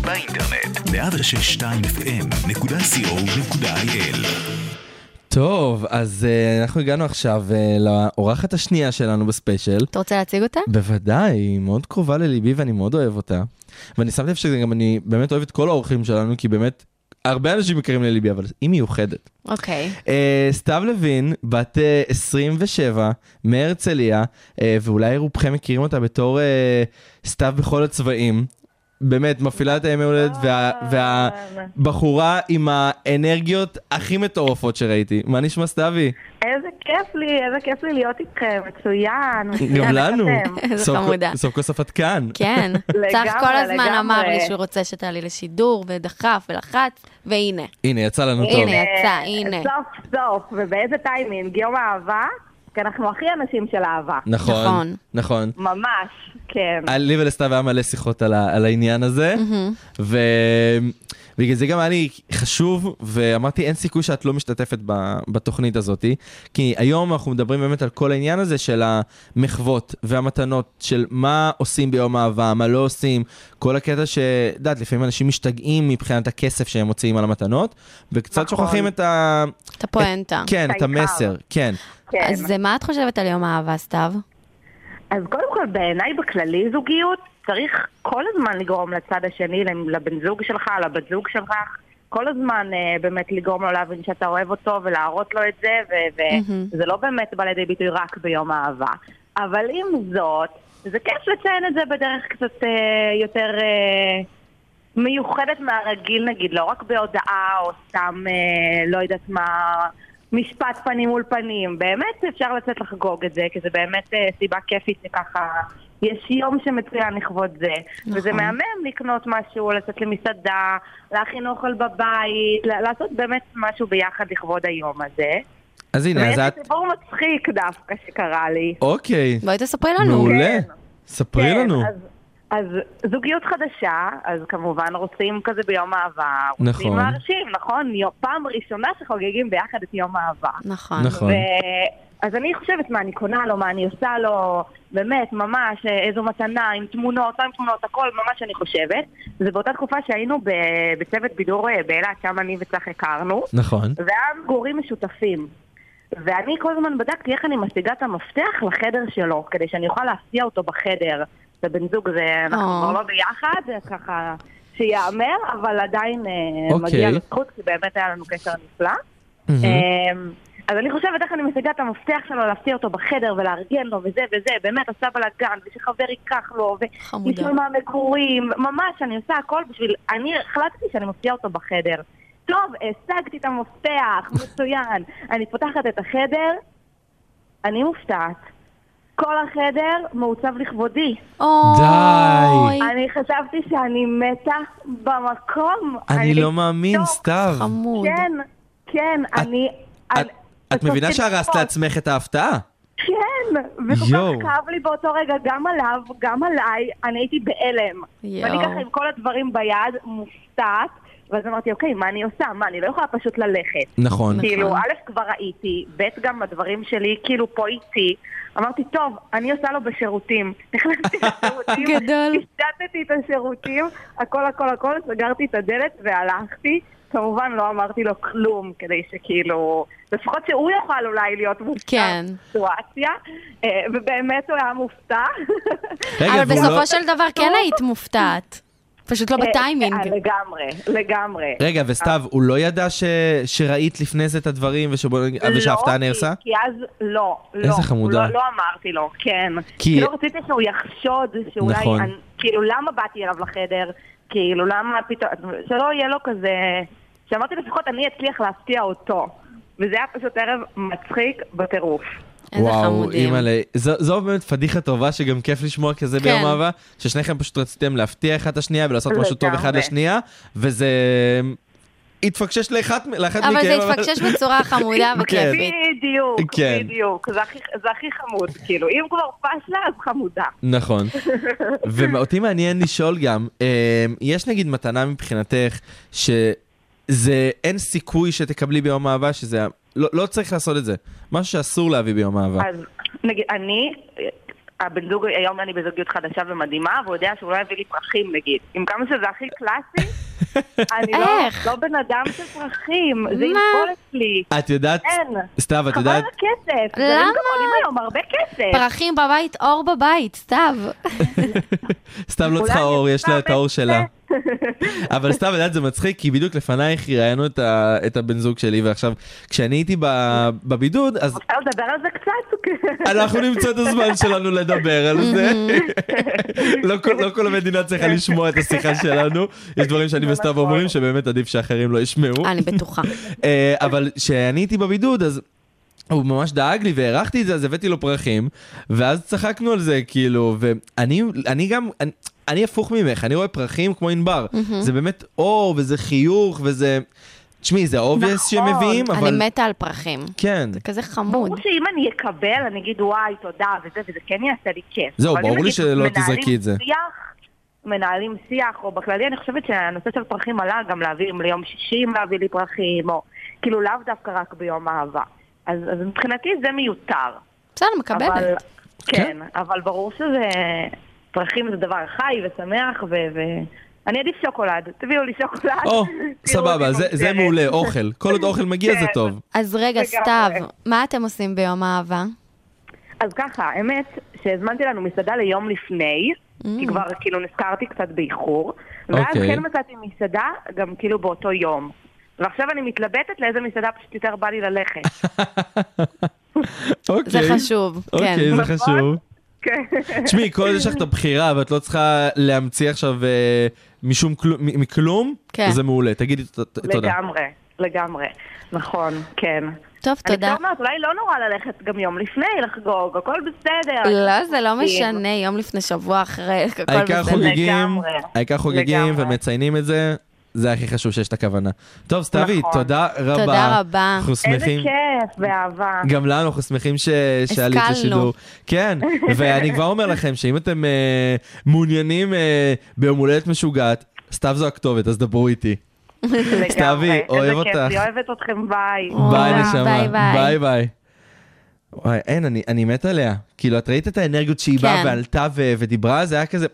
A: באינטרנט. 106.2 FM.co.il
D: טוב, אז אה, אנחנו הגענו עכשיו אה, לאורחת השנייה שלנו בספיישל.
E: אתה רוצה להציג אותה?
D: בוודאי, היא מאוד קרובה לליבי ואני מאוד אוהב אותה. ואני שמתי לב שגם אני באמת אוהב את כל האורחים שלנו, כי באמת, הרבה אנשים יקרים לליבי, אבל היא מיוחדת.
E: אוקיי.
D: אה, סתיו לוין, בת אה, 27, מהרצליה, אה, ואולי רובכם מכירים אותה בתור אה, סתיו בכל הצבעים. באמת, מפעילה את הימי הולדת, וה- והבחורה עם האנרגיות הכי מטורפות שראיתי. מה נשמע סתיוי?
G: איזה כיף לי, איזה כיף לי להיות איתכם, מצוין.
D: גם
G: מצוין,
D: לנו.
G: אתם.
E: איזה
D: סוף-
E: חמודה.
D: סוף כל סוף את כאן.
E: כן, צח כל
G: לגמרי,
E: הזמן אמר לי
G: לגמרי.
E: שהוא רוצה שתעלי לשידור, ודחף ולחץ, והנה.
D: הנה, יצא לנו טוב.
E: הנה, יצא, הנה.
G: אה, סוף סוף, ובאיזה טיימינג, יום אהבה, כי אנחנו הכי אנשים של אהבה.
D: נכון,
E: נכון.
D: נכון.
G: ממש, כן.
D: היה לי ולסתיו היה מלא שיחות על, ה, על העניין הזה, ובגלל זה גם היה לי חשוב, ואמרתי אין סיכוי שאת לא משתתפת ב, בתוכנית הזאת, כי היום אנחנו מדברים באמת על כל העניין הזה של המחוות והמתנות, של מה עושים ביום אהבה, מה לא עושים, כל הקטע ש... את יודעת, לפעמים אנשים משתגעים מבחינת הכסף שהם מוציאים על המתנות, וקצת
G: נכון.
D: שוכחים את ה...
E: את הפואנטה.
D: כן, את
G: את העיקר.
D: המסר, כן.
G: כן.
E: אז אה, מה את חושבת על יום האהבה, סתיו?
G: אז קודם כל, בעיניי בכללי זוגיות, צריך כל הזמן לגרום לצד השני, לבן זוג שלך, לבת זוג שלך, כל הזמן אה, באמת לגרום לו להבין שאתה אוהב אותו ולהראות לו את זה,
E: מהמם.
G: וזה לא באמת בא לידי ביטוי רק ביום האהבה. אבל עם זאת, זה כיף לציין את זה בדרך קצת אה, יותר אה, מיוחדת מהרגיל נגיד, לא רק בהודעה או סתם, אה, לא יודעת מה, משפט פנים מול פנים. באמת אפשר לצאת לחגוג את זה, כי זה באמת אה, סיבה כיפית שככה... יש יום שמצוין לכבוד זה,
E: נכון.
G: וזה מהמם לקנות משהו, לצאת למסעדה, להכין אוכל בבית, ל- לעשות באמת משהו ביחד לכבוד היום הזה.
D: אז הנה, אז
G: ויש לי
D: את...
G: סיפור מצחיק דווקא שקרה לי.
D: אוקיי,
E: בואי תספרי לנו.
D: מעולה. ספרי
G: כן,
D: לנו.
G: אז, אז זוגיות חדשה, אז כמובן רוצים כזה ביום אהבה.
D: נכון.
G: רוצים להרשים, נכון? יום- פעם ראשונה שחוגגים ביחד את יום אהבה.
E: נכון.
D: נכון.
G: ו- אז אני חושבת מה אני קונה לו, מה אני עושה לו, באמת, ממש, אה, איזו מתנה, עם תמונות, לא עם תמונות, הכל ממש אני חושבת. זה באותה תקופה שהיינו ב- בצוות בידור אה, באילת, שם אני וצח הכרנו.
D: נכון.
G: והיה מגורים משותפים. ואני כל הזמן בדקתי איך אני משיגה את המפתח לחדר שלו, כדי שאני אוכל להפתיע אותו בחדר. זה בן זוג, זה אנחנו
E: אה.
G: כבר לא ביחד, זה ככה שיאמר, אבל עדיין אה,
D: אוקיי.
G: מגיע לו זכות, כי באמת היה לנו קשר נפלא.
E: אה,
G: אמ, אז אני חושבת איך אני משיגה את המפתח שלו, להפתיע אותו בחדר ולארגן לו וזה וזה, באמת עשה בלאגן, ושחבר ייקח לו,
E: חמודה.
G: וניסוי מהמגורים, ממש, אני עושה הכל בשביל, אני החלטתי שאני מפתיעה אותו בחדר. טוב, השגתי את המפתח, מצוין. אני פותחת את החדר, אני מופתעת. כל החדר מעוצב לכבודי.
E: אוי.
D: די.
G: אני חשבתי שאני מתה במקום.
D: אני לא מאמין,
G: טוב,
D: סתיו.
E: חמוד.
G: כן, כן,
D: את-
G: אני...
D: את-
G: אני-
D: את מבינה שהרסת
G: פשוט
D: לעצמך את ההפתעה?
G: כן, וכל
D: יואו.
G: כך כאב לי באותו רגע, גם עליו, גם עליי, אני הייתי בהלם.
E: יואו.
G: ואני ככה עם כל הדברים ביד, מופתעת, ואז אמרתי, אוקיי, מה אני עושה? מה, אני לא יכולה פשוט ללכת.
D: נכון.
G: כאילו, א', כבר ראיתי, ב', גם הדברים שלי, כאילו, פה איתי. אמרתי, טוב, אני עושה לו בשירותים. נכנסתי לשירותים,
E: גדול.
G: השתתתי את השירותים, הכל הכל הכל, סגרתי את הדלת והלכתי. כמובן לא אמרתי לו כלום, כדי שכאילו, לפחות שהוא יוכל אולי להיות מופתע
E: כן.
G: בסיטואציה, אה, ובאמת הוא היה מופתע.
D: רגע,
E: אבל
D: והוא לא-
E: בסופו של דבר כן היית מופתעת. פשוט לא
G: אה,
E: בטיימינג.
G: לגמרי, לגמרי.
D: רגע, וסתיו, הוא לא ידע ש... שראית לפני זה את הדברים ושבוא...
G: לא,
D: ושההפתעה
G: כי-
D: נהרסה?
G: כי אז, לא, לא.
D: איזה חמודה.
G: לא, לא אמרתי לו, כן.
D: כי-
G: כי... לא רציתי שהוא יחשוד שאולי...
D: נכון.
G: אני, כאילו, למה באתי אליו לחדר? כאילו, למה פתאום... שלא יהיה לו כזה... שאמרתי לפחות אני אצליח להפתיע אותו. וזה היה פשוט ערב מצחיק בטירוף.
E: איזה חמודים.
D: אימא'לה. זו, זו באמת פדיחה טובה שגם כיף לשמוע כזה
E: כן.
D: ביום אהבה, ששניכם פשוט רציתם להפתיע אחד את השנייה ולעשות משהו טוב אחד
G: לגמרי.
D: לשנייה, וזה התפקשש לאחת, לאחת
E: אבל
D: מכם.
E: זה התפקשש בצורה חמודה
D: כן.
E: וכיפית.
G: בדיוק,
D: כן.
G: בדיוק. זה הכי, זה הכי חמוד, כאילו. אם כבר פשלה, אז חמודה.
D: נכון. ואותי מעניין לשאול גם, אה, יש נגיד מתנה מבחינתך, שזה אין סיכוי שתקבלי ביום אהבה, שזה... ה- לא, לא צריך לעשות את זה, משהו שאסור להביא ביום אהבה.
G: אז נגיד, אני, הבן זוג, היום אני בזוגיות חדשה ומדהימה, והוא יודע שהוא לא יביא לי פרחים נגיד. עם כמה שזה הכי קלאסי, אני לא,
E: איך?
G: לא בן אדם של פרחים, זה
E: מה?
G: יפול אצלי.
D: את יודעת,
G: אין.
D: סתיו, את
G: חבל על
D: יודעת,
G: הכסף, זה
E: למה?
G: גם עולים היום הרבה כסף.
E: פרחים בבית, אור בבית, סתיו.
D: סתיו לא
G: אולי
D: צריכה אור, יש לה את
G: סתיו
D: האור
G: אצלי.
D: שלה. אבל סתיו, את יודעת, זה מצחיק, כי בדיוק לפנייך ראיינו את ה- את הבן זוג שלי, ועכשיו, כשאני הייתי ב- בבידוד, אז
G: אפשר לדבר על זה קצת? כאילו.
D: אנחנו נמצא את הזמן שלנו לדבר על זה. לא כל- לא כל המדינה צריכה לשמוע את השיחה שלנו, יש דברים שאני וסתיו אומרים שבאמת עדיף שאחרים לא ישמעו.
E: לא. אני בטוחה.
D: אה, אבל כשאני הייתי בבידוד, אז... הוא ממש דאג לי והערכתי את זה, אז הבאתי לו פרחים, ואז צחקנו על זה, כאילו, ואני אני גם, אני, אני הפוך ממך, אני רואה פרחים כמו ענבר. זה באמת אור, וזה חיוך, וזה... תשמעי, זה אובייס
G: נכון.
D: שמביאים, אבל...
E: אני מתה על פרחים.
D: כן.
E: זה כזה
G: ברור
E: חמוד.
G: שאם אני אקבל, אני אגיד וואי, תודה, וזה, וזה כן יעשה לי כיף.
D: זהו,
G: אבל אם
D: ברור לי
G: נגיד
D: שלא
G: מנהלים
D: תזרקי את זה.
G: שיח, מנהלים שיח, או בכללי, אני חושבת שהנושא של פרחים עלה גם להביא אם ליום שישי, אם להביא לי פרחים, או כאילו לאו דווקא רק ביום אהבה. אז, אז מבחינתי זה מיותר.
E: בסדר,
G: אבל,
E: מקבלת.
G: כן, אבל ברור שזה... פרחים זה דבר חי ושמח, ו... ו... אני עדיף שוקולד, תביאו לי שוקולד.
D: או,
G: תראו
D: סבבה,
G: אותי
D: זה, זה
G: מאושרת.
D: מעולה, אוכל. כל עוד אוכל מגיע זה
G: כן.
D: טוב.
E: אז רגע,
G: לגמרי.
E: סתיו, מה אתם עושים ביום אהבה?
G: אז ככה, האמת שהזמנתי לנו מסעדה ליום לפני,
E: Mm.
G: כי כבר כאילו נזכרתי קצת באיחור, ואז
D: אוקיי.
G: כן מצאתי מסעדה גם כאילו באותו יום. ועכשיו אני מתלבטת לאיזה מסעדה פשוט יותר בא לי ללכת.
D: אוקיי.
E: זה חשוב, כן.
D: אוקיי, זה
G: נכון?
D: חשוב.
G: כן.
D: תשמעי, כל עוד יש לך את הבחירה ואת לא צריכה להמציא עכשיו אה, משום כלום, מ- מכלום,
E: כן.
D: זה מעולה. תגידי ת- ת- תודה.
G: לגמרי, לגמרי. נכון, כן.
E: טוב,
G: אני
E: תודה.
G: כבר אומרת, אולי לא נורא ללכת גם יום לפני לחגוג, הכל בסדר.
E: לא, זה לא
G: חוגגים.
E: משנה, יום לפני שבוע אחרי, הכל
D: העיקר
E: בסדר.
D: חוגגים,
G: לגמרי.
D: העיקר חוגגים
G: לגמרי.
D: ומציינים את זה, זה הכי חשוב שיש את הכוונה. טוב, סתיוי,
G: נכון.
D: תודה רבה.
E: תודה רבה.
D: אנחנו
G: איזה
D: שמחים.
G: כיף, באהבה.
D: גם לנו, אנחנו שמחים ש- שעלית
E: השכלנו.
D: לשידור. כן, ואני כבר אומר לכם שאם אתם אה, מעוניינים אה, ביום הולדת משוגעת, סתיו זו הכתובת, אז דברו איתי.
G: לגמרי.
D: סתיוי, אוהב
G: איזה כיף
D: אותך.
G: לי, אוהבת אתכם, ביי.
D: ביי
E: וואלה,
D: נשמה,
E: ביי, ביי.
D: ביי ביי. וואי, אין, אני, אני מת עליה. כאילו, את ראית את האנרגיות שהיא באה
E: כן.
D: ועלתה ו- ודיברה, זה היה כזה...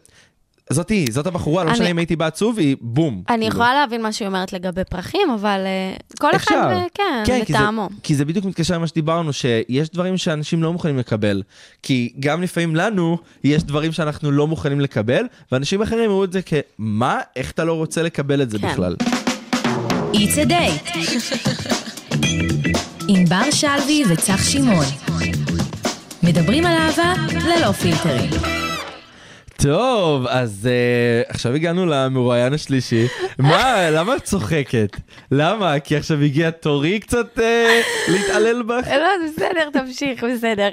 D: זאתי, זאת הבחורה, לא
E: אני-
D: משנה אם הייתי בא עצוב, היא בום.
E: אני
D: כאילו.
E: יכולה להבין מה שהיא אומרת לגבי פרחים, אבל אה, כל אחד,
D: אפשר.
E: ו- כן,
D: כי זה-
E: לטעמו.
D: כי זה בדיוק מתקשר למה שדיברנו, שיש דברים שאנשים לא מוכנים לקבל. כי גם לפעמים לנו, יש דברים שאנחנו לא מוכנים לקבל, ואנשים אחרים יראו את זה כמה? איך אתה לא רוצה לקבל את זה
E: כן.
D: בכלל?
C: It's a date. ענבר שלוי וצח שמעון. מדברים על אהבה ללא פילטרים.
D: טוב, אז uh, עכשיו הגענו למרואיין השלישי. מה, למה את צוחקת? למה? כי עכשיו הגיע תורי קצת uh, להתעלל בך?
E: לא, זה בסדר, תמשיך, בסדר.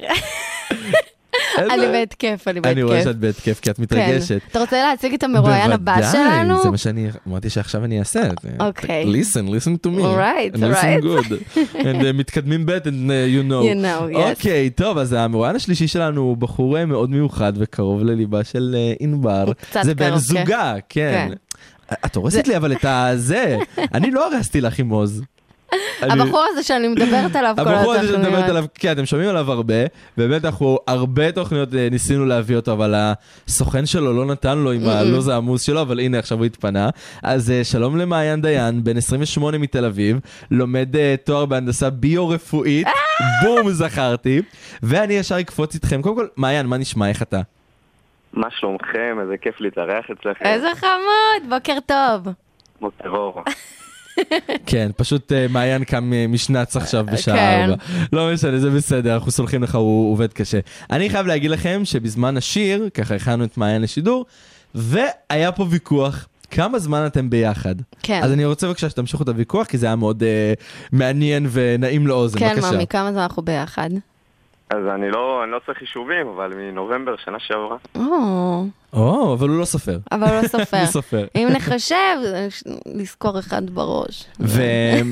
D: אין
E: אני
D: בעיה.
E: בהתקף, אני בהתקף.
D: לא- אני רואה שאת בהתקף, כי את מתרגשת.
E: כן. אתה רוצה להציג את המרואיין הבא שלנו?
D: בוודאי, זה מה שאני אמרתי שעכשיו אני אעשה. את זה.
E: אוקיי.
D: listen, listen to me.
E: Alright,
D: And listen
E: alright.
D: good. And uh, מתקדמים ב' and uh, you know.
E: You know, yes.
D: אוקיי, טוב, אז המרואיין השלישי שלנו הוא בחור אה, מאוד מיוחד וקרוב לליבה של אה, ענבר.
E: הוא קצת
D: זה בן
E: קרוב, כן.
D: זוגה, כן. את הורסת לי אבל את הזה. אני לא הרסתי לך עם עוז. אני-
E: הבחור הזה שאני מדברת עליו כל
D: הבחור הזה שאת מדברת
E: התוכניות.
D: עליו, כן, אתם שומעים עליו הרבה, באמת אנחנו הרבה תוכניות אה, ניסינו להביא אותו, אבל הסוכן שלו לא נתן לו עם הלו"ז העמוס שלו, אבל הנה עכשיו הוא התפנה. אז אה, שלום למעיין דיין, בן 28 מתל אביב, לומד אה, תואר בהנדסה ביו-רפואית,
E: אה!
D: בום, זכרתי, ואני ישר אקפוץ איתכם. קודם כל, מעיין, מה נשמע, איך אתה?
H: מה שלומכם? איזה כיף להתארח אצלכם.
E: איזה חמוד, בוקר טוב.
H: בוקר אור.
D: כן, פשוט אה, מעיין קם אה, משנ"צ עכשיו בשעה
E: כן.
D: 4. לא משנה, זה בסדר, אנחנו סולחים לך, הוא עובד קשה. אני חייב להגיד לכם שבזמן השיר, ככה הכנו את מעיין לשידור, והיה פה ויכוח. כמה זמן אתם ביחד?
E: כן.
D: אז אני רוצה בבקשה שתמשיכו את הוויכוח, כי זה היה מאוד אה, מעניין ונעים לאוזן.
E: כן,
D: בבקשה.
E: מאמי, כמה זמן אנחנו ביחד?
H: אז אני לא, אני לא צריך חישובים, אבל מנובמבר שנה שעברה.
E: או,
D: או, אבל הוא לא סופר.
E: אבל הוא לא סופר.
D: הוא סופר.
E: אם נחשב, ש- נזכור אחד בראש.
D: וכן,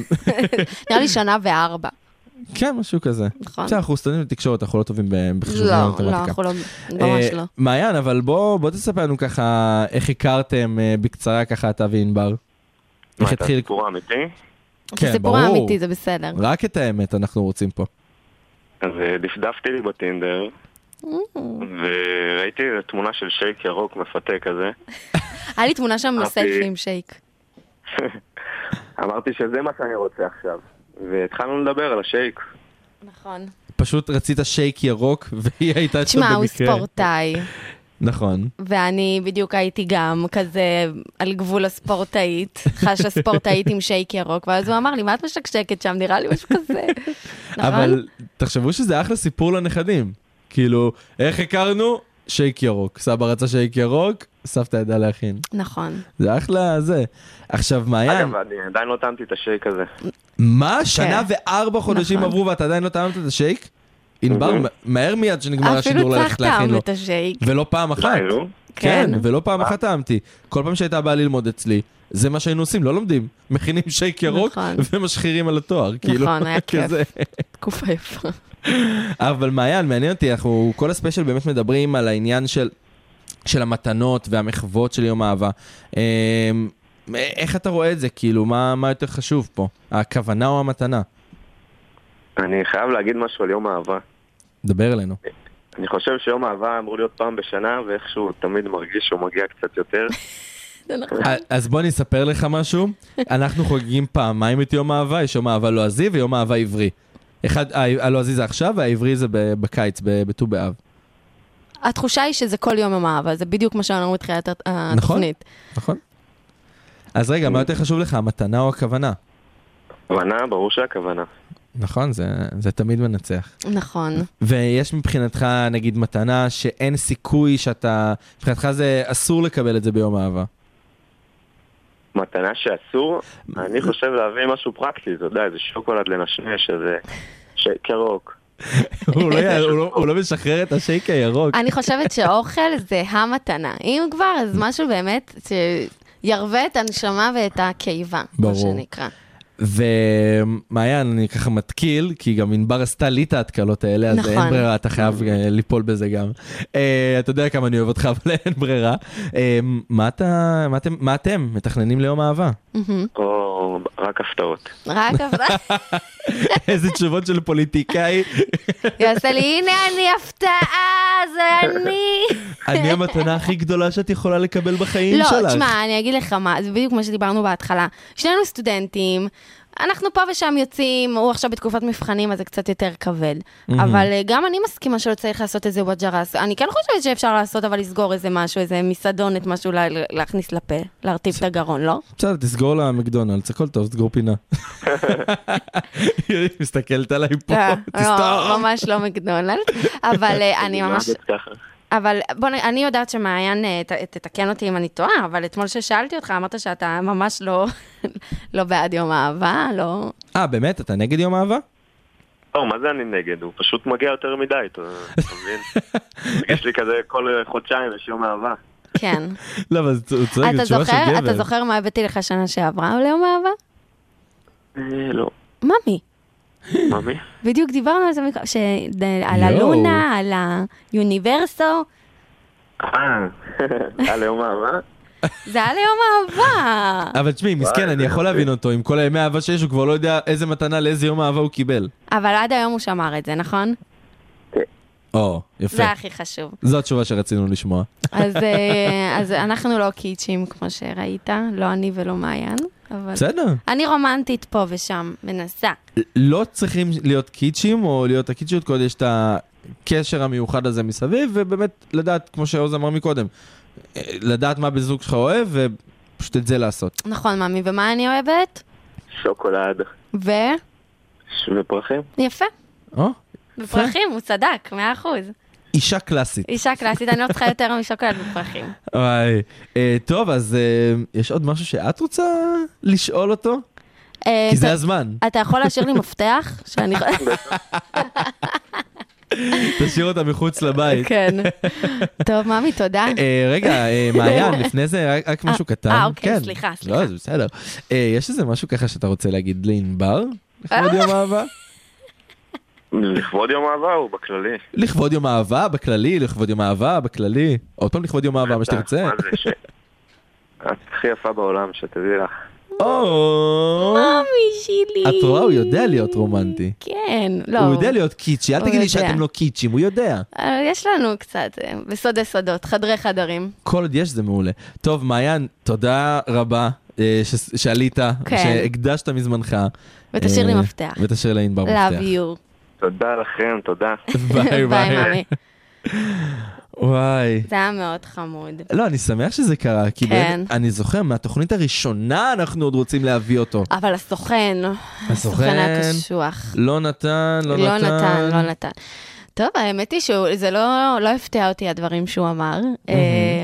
E: נראה לי שנה וארבע,
D: כן, משהו כזה.
E: נכון?
D: בסדר, אנחנו סטודנטים לתקשורת, אנחנו לא טובים ב-
E: לא,
D: בחישובים
E: לא,
D: ובמתמטיקה.
E: אנחנו לא, ממש
D: אה,
E: לא.
D: מעיין, אבל בוא, בוא תספר לנו ככה איך הכרתם אה, בקצרה ככה אתה וענבר. איך
H: מה, את
D: התחיל?
H: הסיפור האמיתי?
E: זה סיפור
D: כן, ברור.
E: האמיתי, זה בסדר.
D: רק את האמת אנחנו רוצים פה.
H: אז אה, דפדפתי לי בטינדר, וראיתי איזו תמונה של שייק ירוק מפתה כזה.
E: היה לי תמונה שם
H: אהבתי.
E: סלפי עם שייק.
H: אמרתי שזה מה שאני רוצה עכשיו. והתחלנו לדבר על השייק.
E: נכון.
D: פשוט רצית שייק ירוק והיא הייתה שם
E: תשמע,
D: במקרה.
E: הוא ספורטאי,
D: נכון.
E: ואני בדיוק הייתי גם כזה על גבול הספורטאית, חשה ספורטאית עם שייק ירוק, ואז הוא אמר לי, מה את משקשקת שם? נראה לי משהו כזה. נכון?
D: אבל תחשבו שזה אחלה סיפור לנכדים. כאילו, איך הכרנו? שייק ירוק. סבא רצה שייק ירוק, סבתא ידעה להכין.
E: נכון.
D: זה אחלה זה. עכשיו מעיין,
H: אגב, אני עדיין לא טעמתי את השייק הזה.
D: מה? שנה
E: כן.
D: וארבע חודשים
E: נכון.
D: עברו ואתה עדיין לא טעמת את השייק? ענבר,
H: Mhm.
D: מה- מהר מיד שנגמר
E: אפילו
D: השידור
E: צריך
D: ללכת להכין
E: טעם
D: לו.
E: את השייק.
D: ולא פעם אחת.
H: די, נו.
D: כן,
E: כן.
D: ולא פעם אחת טעמתי. כל פעם שהייתה באה ללמוד אצלי, זה מה שהיינו עושים, לא לומדים. מכינים שייק ירוק
E: נכון.
D: ומשחירים על התואר. כאילו,
E: נכון, היה כיף.
D: כזה.
E: תקופה יפה.
D: אבל מעיין, מעניין אותי, אנחנו כל הספיישל באמת מדברים על העניין של, של המתנות והמחוות של יום אהבה. אמ, איך אתה רואה את זה? כאילו, מה, מה יותר חשוב פה? הכוונה או המתנה?
H: אני חייב להגיד משהו על יום אהבה.
D: דבר אלינו.
H: אני חושב שיום אהבה אמור להיות פעם בשנה, ואיכשהו תמיד מרגיש שהוא מגיע קצת יותר.
E: זה נכון.
D: אז בוא אני אספר לך משהו. אנחנו חוגגים פעמיים את יום אהבה, יש יום אהבה לועזי ויום אהבה עברי. אחד, ה- הלועזי זה עכשיו, והעברי זה ב- בקיץ, ב- בט"ו באב.
E: התחושה היא שזה כל יום המאהבה, זה בדיוק מה שאמרנו בתחילת הת- התוכנית.
D: נכון. אז רגע, מה יותר חשוב לך, המתנה או הכוונה?
H: הכוונה, ברור שהכוונה.
D: נכון, זה, זה תמיד מנצח.
E: נכון.
D: ויש מבחינתך, נגיד, מתנה שאין סיכוי שאתה... מבחינתך זה אסור לקבל את זה ביום אהבה.
H: מתנה שאסור, אני חושב להביא משהו פרקטי, אתה יודע, איזה שוקולד לנשנש, איזה שייק ירוק.
D: הוא, לא, י- הוא, לא, הוא לא משחרר את השייק הירוק.
E: אני חושבת שאוכל זה המתנה. אם כבר, אז משהו באמת שירווה את הנשמה ואת הקיבה, מה
D: ברור.
E: שנקרא.
D: ומעיין, אני ככה מתקיל, כי גם ענבר עשתה לי את ההתקלות האלה, אז
E: נכון.
D: אין ברירה, אתה חייב אה, ליפול בזה גם. אה, אתה יודע כמה אני אוהב אותך, אבל אין ברירה. אה, מה אתה- מה אתם- מה אתם מתכננים ליום אהבה?
E: מהמם.
H: או רק הפתעות.
E: רק אבל
D: איזה תשובות של פוליטיקאי.
E: יעשה לי, הנה אני הפתעה, זה אני.
D: אני המתנה הכי גדולה שאת יכולה לקבל בחיים
E: לא,
D: שלך.
E: תשמע, אני אגיד לך מה, זה בדיוק מה שדיברנו בהתחלה. שנינו סטודנטים, אנחנו פה ושם יוצאים, הוא עכשיו בתקופת מבחנים, אז זה קצת יותר כבד. אבל אה, גם אני מסכימה שלא צריך לעשות איזה וואג'רס. אני כן חושבת שאפשר לעשות, אבל לסגור איזה משהו, איזה מסעדונת, משהו לה- להכניס לפה, להרטיב את הגרון, לא?
D: בסדר, תסגור לה מקדונלדס, הכל טוב, תסגור פינה. היא מסתכלת עליי פה,
E: לא, לא,
D: תסתום.
E: ממש לא מקדונלד, אבל אה, אני ממש,
H: אוהבת ככה.
E: אבל בוא, נ- אני יודעת שמעיין, אה, ת- תתקן אותי אם אני טועה, אבל אתמול ששאלתי אותך, אמרת שאתה ממש לא, לא בעד יום אהבה, לא...
D: אה, באמת? אתה נגד יום אהבה?
H: לא, מה זה אני נגד? הוא פשוט מגיע יותר מדי, אתה אתה מבין? מרגיש לי כזה כל חודשיים יש יום אהבה.
E: כן.
D: לא, אבל הוא צודק, זו
E: אתה
D: תשובה של
E: זוכר,
D: גבר.
E: אתה זוכר מה הבאתי לך שנה שעברה ליום אהבה?
H: אה, לא.
E: ממי,
H: מאמי?
E: בדיוק דיברנו על זה, מקו- ש- ד- על
D: יואו.
E: הלונה, על היוניברסו,
H: אה, היה ליום אהבה?
E: זה היה ליום אהבה.
D: אבל תשמעי, מסכן,
H: וואי,
D: אני
H: זה
D: יכול
H: יפה.
D: להבין אותו, עם כל הימי אהבה שיש, הוא כבר לא יודע איזה מתנה לאיזה יום אהבה הוא קיבל.
E: אבל עד היום הוא שמר את זה, נכון?
D: או, יפה.
E: זה הכי חשוב.
D: זו התשובה שרצינו לשמוע.
E: אז, אה, אז אנחנו לא קיצ'ים, כמו שראית, לא אני ולא מעיין, אבל...
D: בסדר.
E: אני רומנטית פה ושם, מנסה.
D: לא צריכים להיות קיצ'ים, או להיות הקיצ'יות, כל עוד יש את ה... הקשר המיוחד הזה מסביב, ובאמת לדעת, כמו שעוז אמר מקודם, אה, לדעת מה בן זוג שלך אוהב, ופשוט את זה לעשות.
E: נכון, ממי, ומה אני אוהבת?
H: שוקולד
E: ו...
H: ש- ופרחים.
E: יפה.
D: או?
E: בפרחים, הוא צדק, מאה אחוז.
D: אישה קלאסית.
E: אישה קלאסית, אני לא צריכה יותר משוקולד בפרחים.
D: וואי. אה, טוב, אז אה, יש עוד משהו שאת רוצה לשאול אותו?
E: אה,
D: כי זה
E: אתה-
D: הזמן.
E: אתה יכול להשאיר לי מפתח? שאני...
D: תשאיר אותה מחוץ לבית.
E: כן. טוב, ממי, תודה.
D: אה, רגע, אה, מעיין, לפני זה רק- רק משהו קטן.
E: אה, אוקיי,
D: כן.
E: סליחה, סליחה.
D: לא, זה בסדר. אה, יש איזה משהו ככה שאתה רוצה להגיד לענבר? לכבוד יום אהבה?
H: לכבוד יום אהבה הוא בכללי.
D: לכבוד יום אהבה בכללי, לכבוד יום אהבה בכללי. עוד פעם לכבוד יום אהבה, מה שתרצה.
H: מה זה ש... את הכי יפה בעולם, שתדעי לך.
D: או,
E: ממי שלי.
D: את רואה, הוא יודע להיות רומנטי.
E: כן, לא.
D: הוא יודע להיות קיצ'י, אל
E: הוא
D: תגידי
E: יודע.
D: שאתם לא קיצ'ים, הוא יודע.
E: אה, יש לנו קצת, אה, בסודי סודות, חדרי חדרים.
D: כל עוד יש זה מעולה. טוב, מעיין, תודה רבה אה, ש- שעלית,
E: כן.
D: שהקדשת מזמנך.
E: ותשאיר לי
D: אה,
E: מפתח.
D: ותשאיר לענבר
E: Love
D: מפתח.
E: you.
H: תודה לכם, תודה.
D: ביי ביי.
E: ממי.
D: וואי.
E: זה היה מאוד חמוד.
D: לא, אני שמח שזה קרה, כי
E: כן.
D: באמת, אני זוכר, מהתוכנית הראשונה אנחנו עוד רוצים להביא אותו.
E: אבל הסוכן, הסוכן היה קשוח.
D: לא נתן, לא
E: לא
D: נתן.
E: נתן, לא נתן. טוב, האמת היא שזה לא, לא הפתיע אותי הדברים שהוא אמר. אה,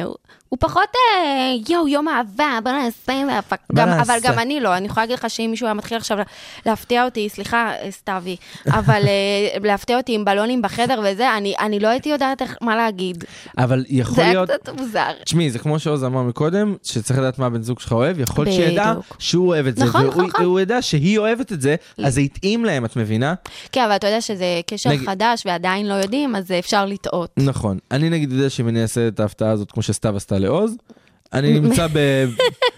E: הוא- הוא פחות, אה, יואו, יום אהבה, בוא נעשה, והפק-
D: בוא
E: גם-
D: נעשה.
E: אבל גם אני לא, אני יכולה להגיד לך שאם מישהו היה מתחיל עכשיו לה- להפתיע אותי, סליחה, אה, סתיוי, אבל אה, להפתיע אותי עם בלונים בחדר וזה, אני- אני לא הייתי יודעת איך- מה להגיד.
D: אבל יכול
E: זה היה
D: להיות...
E: קצת מוזר.
D: תשמעי, זה כמו שעוז אמר מקודם, שצריך לדעת מה הבן זוג שלך אוהב, יכול להיות שידע
E: בדיוק.
D: שהוא אוהב את זה,
E: נכון, נכון,
D: והוא
E: נכון.
D: הוא ידע שהיא אוהבת את זה, אז זה התאים להם, את מבינה?
E: כן, אבל אתה יודע שזה קשר
D: נגיד-
E: חדש ועדיין לא יודעים, אז אה, אפשר לטעות.
D: נכון. אני נגיד יודע שאם אני אעשה את ההפתעה הזאת כמו שסתיו עשתה לעוז, אני נמצא ב-